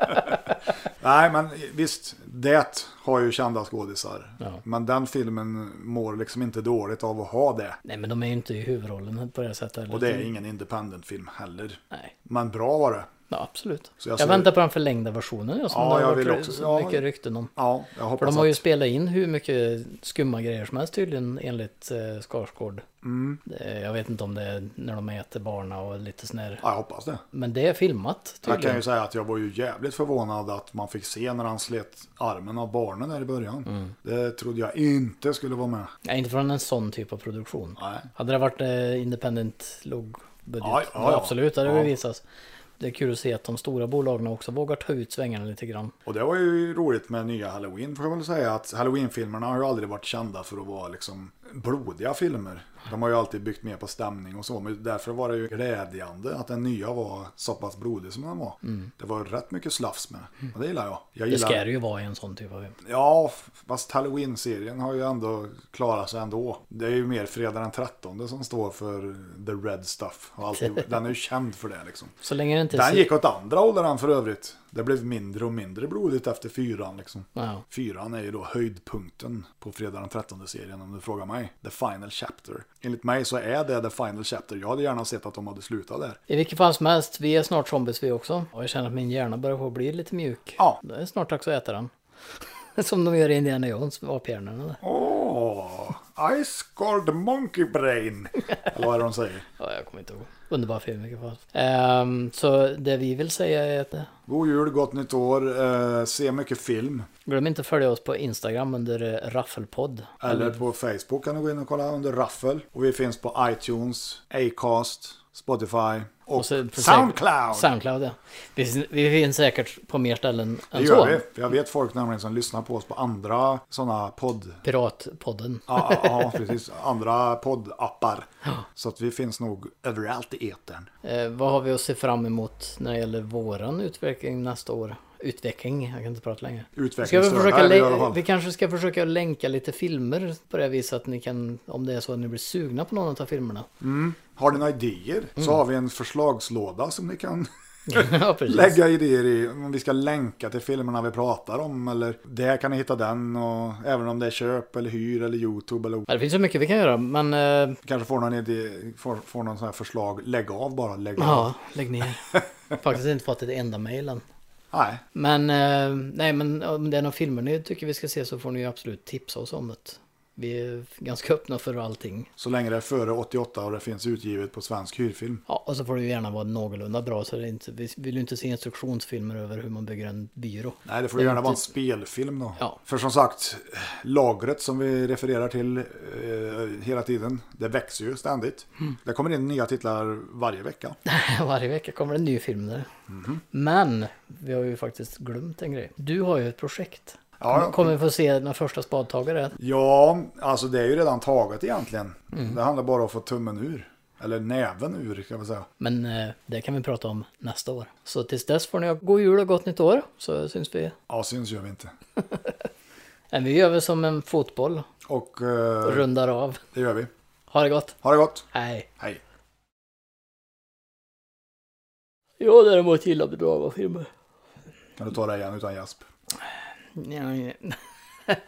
[SPEAKER 1] Nej men visst, det har ju kända skådisar. Men den filmen mår liksom inte dåligt av att ha det.
[SPEAKER 2] Nej men de är ju inte i huvudrollen på det sättet.
[SPEAKER 1] Och det är ingen independent film heller.
[SPEAKER 2] Mm. Nej.
[SPEAKER 1] Men bra var det.
[SPEAKER 2] Ja, absolut.
[SPEAKER 1] Så
[SPEAKER 2] jag
[SPEAKER 1] jag ser-
[SPEAKER 2] väntar på den förlängda versionen ja, som
[SPEAKER 1] Ja,
[SPEAKER 2] det har
[SPEAKER 1] jag
[SPEAKER 2] varit
[SPEAKER 1] vill
[SPEAKER 2] ry-
[SPEAKER 1] också-
[SPEAKER 2] så
[SPEAKER 1] ja.
[SPEAKER 2] mycket rykten om.
[SPEAKER 1] Ja, jag
[SPEAKER 2] För
[SPEAKER 1] hoppas
[SPEAKER 2] de har ju
[SPEAKER 1] att...
[SPEAKER 2] spelat in hur mycket skumma grejer som helst tydligen enligt eh, Skarsgård.
[SPEAKER 1] Mm.
[SPEAKER 2] Eh, Jag vet inte om det är när de äter barna och lite sån här.
[SPEAKER 1] Ja, jag hoppas det.
[SPEAKER 2] Men det är filmat
[SPEAKER 1] Jag kan
[SPEAKER 2] tydligen.
[SPEAKER 1] ju säga att jag var ju jävligt förvånad att man fick se när han slet armen av barnen där i början.
[SPEAKER 2] Mm.
[SPEAKER 1] Det trodde jag inte skulle vara med.
[SPEAKER 2] Nej, inte från en sån typ av produktion.
[SPEAKER 1] Nej.
[SPEAKER 2] Hade det varit eh, independent lågbudget?
[SPEAKER 1] Ja,
[SPEAKER 2] Ja,
[SPEAKER 1] ja, ja.
[SPEAKER 2] Absolut, det hade
[SPEAKER 1] Ja.
[SPEAKER 2] det visats. Det är kul att se att de stora bolagen också vågar ta ut svängarna lite grann.
[SPEAKER 1] Och det var ju roligt med nya Halloween får jag väl säga. Att Halloween-filmerna har ju aldrig varit kända för att vara liksom blodiga filmer. De har ju alltid byggt mer på stämning och så. Men därför var det ju glädjande att den nya var så pass blodig som den var. Det var rätt mycket slafs med. Och det gillar jag. jag
[SPEAKER 2] Mm. Det
[SPEAKER 1] gillar...
[SPEAKER 2] ska det ju vara i en sån typ av film.
[SPEAKER 1] Ja, fast Halloween-serien har ju ändå klarat sig ändå. Det är ju mer fredag den 13 som står för the red stuff. Och alltid, den är ju känd för det liksom.
[SPEAKER 2] Så länge det inte
[SPEAKER 1] Den
[SPEAKER 2] ser-
[SPEAKER 1] gick åt andra hållet den för övrigt. Det blev mindre och mindre blodigt efter fyran liksom.
[SPEAKER 2] Ja.
[SPEAKER 1] Fyran är ju då höjdpunkten på fredag den 13 serien om du frågar mig. The final chapter. Enligt mig så är det the final chapter. Jag hade gärna sett att de hade slutat där.
[SPEAKER 2] I vilket fall som helst, vi är snart zombies vi också. Och jag känner att min hjärna börjar få bli lite mjuk.
[SPEAKER 1] Ja.
[SPEAKER 2] Det är snart dags att äta den. som de gör i Indiana Jones med aphjärnorna. där.
[SPEAKER 1] Åh, Ice Cold Monkey Brain. Eller vad är det de säger?
[SPEAKER 2] Ja, jag kommer inte ihåg. Underbar film i vilket fall. Ehm, så det vi vill säga är att eh,
[SPEAKER 1] God jul, gott nytt år. Eh, se mycket film.
[SPEAKER 2] glöm inte att följa oss på Instagram under eh, Raffelpodd.
[SPEAKER 1] Eller på Facebook kan du gå in och kolla under Raffel. Och vi finns på iTunes, Acast, Spotify och,
[SPEAKER 2] Och så- för säk-
[SPEAKER 1] Soundcloud.
[SPEAKER 2] Soundcloud, ja. Vi, vi finns säkert på mer ställen än
[SPEAKER 1] det
[SPEAKER 2] så.
[SPEAKER 1] gör vi. För Jag vet folk nämligen som lyssnar på oss på andra sådana podd...
[SPEAKER 2] Piratpodden.
[SPEAKER 1] Ja, ja, ja, precis. Andra poddappar. Så att vi finns nog överallt i etern.
[SPEAKER 2] Eh, vad har vi att se fram emot när det gäller våran utveckling nästa år? Utveckling, jag kan inte prata längre. Ska vi,
[SPEAKER 1] Utvecklingsstörda
[SPEAKER 2] försöka
[SPEAKER 1] är vi i alla
[SPEAKER 2] lä-
[SPEAKER 1] fall.
[SPEAKER 2] vi kanske ska försöka länka lite filmer på det viset att ni kan, om det är så att ni blir sugna på någon av filmerna.
[SPEAKER 1] Har ni några idéer så har vi en förslagslåda som ni kan
[SPEAKER 2] ja, precis.
[SPEAKER 1] lägga idéer i. Om vi ska länka till filmerna vi pratar om eller där kan ni hitta den och även om det är köp eller hyr eller YouTube eller
[SPEAKER 2] Ja, det finns så mycket vi kan göra, men eh,
[SPEAKER 1] kanske får någon idé, får, får någon sån här förslag. Lägg av bara, lägg av.
[SPEAKER 2] ja, lägg ner. Faktiskt inte fått ett enda mejl än.
[SPEAKER 1] Nej,
[SPEAKER 2] Men, eh, nej, men om det är några filmer ni tycker vi ska se så får ni ju absolut tipsa oss om det. Vi är ganska öppna för allting.
[SPEAKER 1] så länge det är före 88 och det finns utgivet på svensk hyrfilm.
[SPEAKER 2] Ja, och så får det ju gärna vara någorlunda bra. Så det är inte, vi vill ju inte se instruktionsfilmer över hur man bygger en byrå.
[SPEAKER 1] Nej, det får ju gärna
[SPEAKER 2] inte-
[SPEAKER 1] vara en spelfilm då.
[SPEAKER 2] Ja.
[SPEAKER 1] För som sagt, lagret som vi refererar till eh, hela tiden, det växer ju ständigt.
[SPEAKER 2] Mm.
[SPEAKER 1] Det kommer in nya titlar varje vecka.
[SPEAKER 2] Varje vecka kommer det en ny film där.
[SPEAKER 1] Mhm.
[SPEAKER 2] Men vi har ju faktiskt glömt en grej. Du har ju ett projekt.
[SPEAKER 1] Ja,
[SPEAKER 2] Kommer vi få se när första spadtagare?
[SPEAKER 1] Ja, alltså det är ju redan taget egentligen. Det handlar bara om att få tummen ur. Eller näven ur kan man säga.
[SPEAKER 2] Men eh, det kan vi prata om nästa år. Så tills dess får ni ha god jul och gott nytt år. Så syns vi.
[SPEAKER 1] Ja, syns gör vi inte.
[SPEAKER 2] Nej, Vi gör väl som en fotboll.
[SPEAKER 1] Och eh,
[SPEAKER 2] Rundar av.
[SPEAKER 1] det gör vi.
[SPEAKER 2] Ha det gott.
[SPEAKER 1] Ha det gott.
[SPEAKER 2] Hej.
[SPEAKER 1] Hej.
[SPEAKER 2] Jag däremot gillar bedrag av filmer.
[SPEAKER 1] Kan du ta det igen utan gäsp?
[SPEAKER 2] Nej, nej.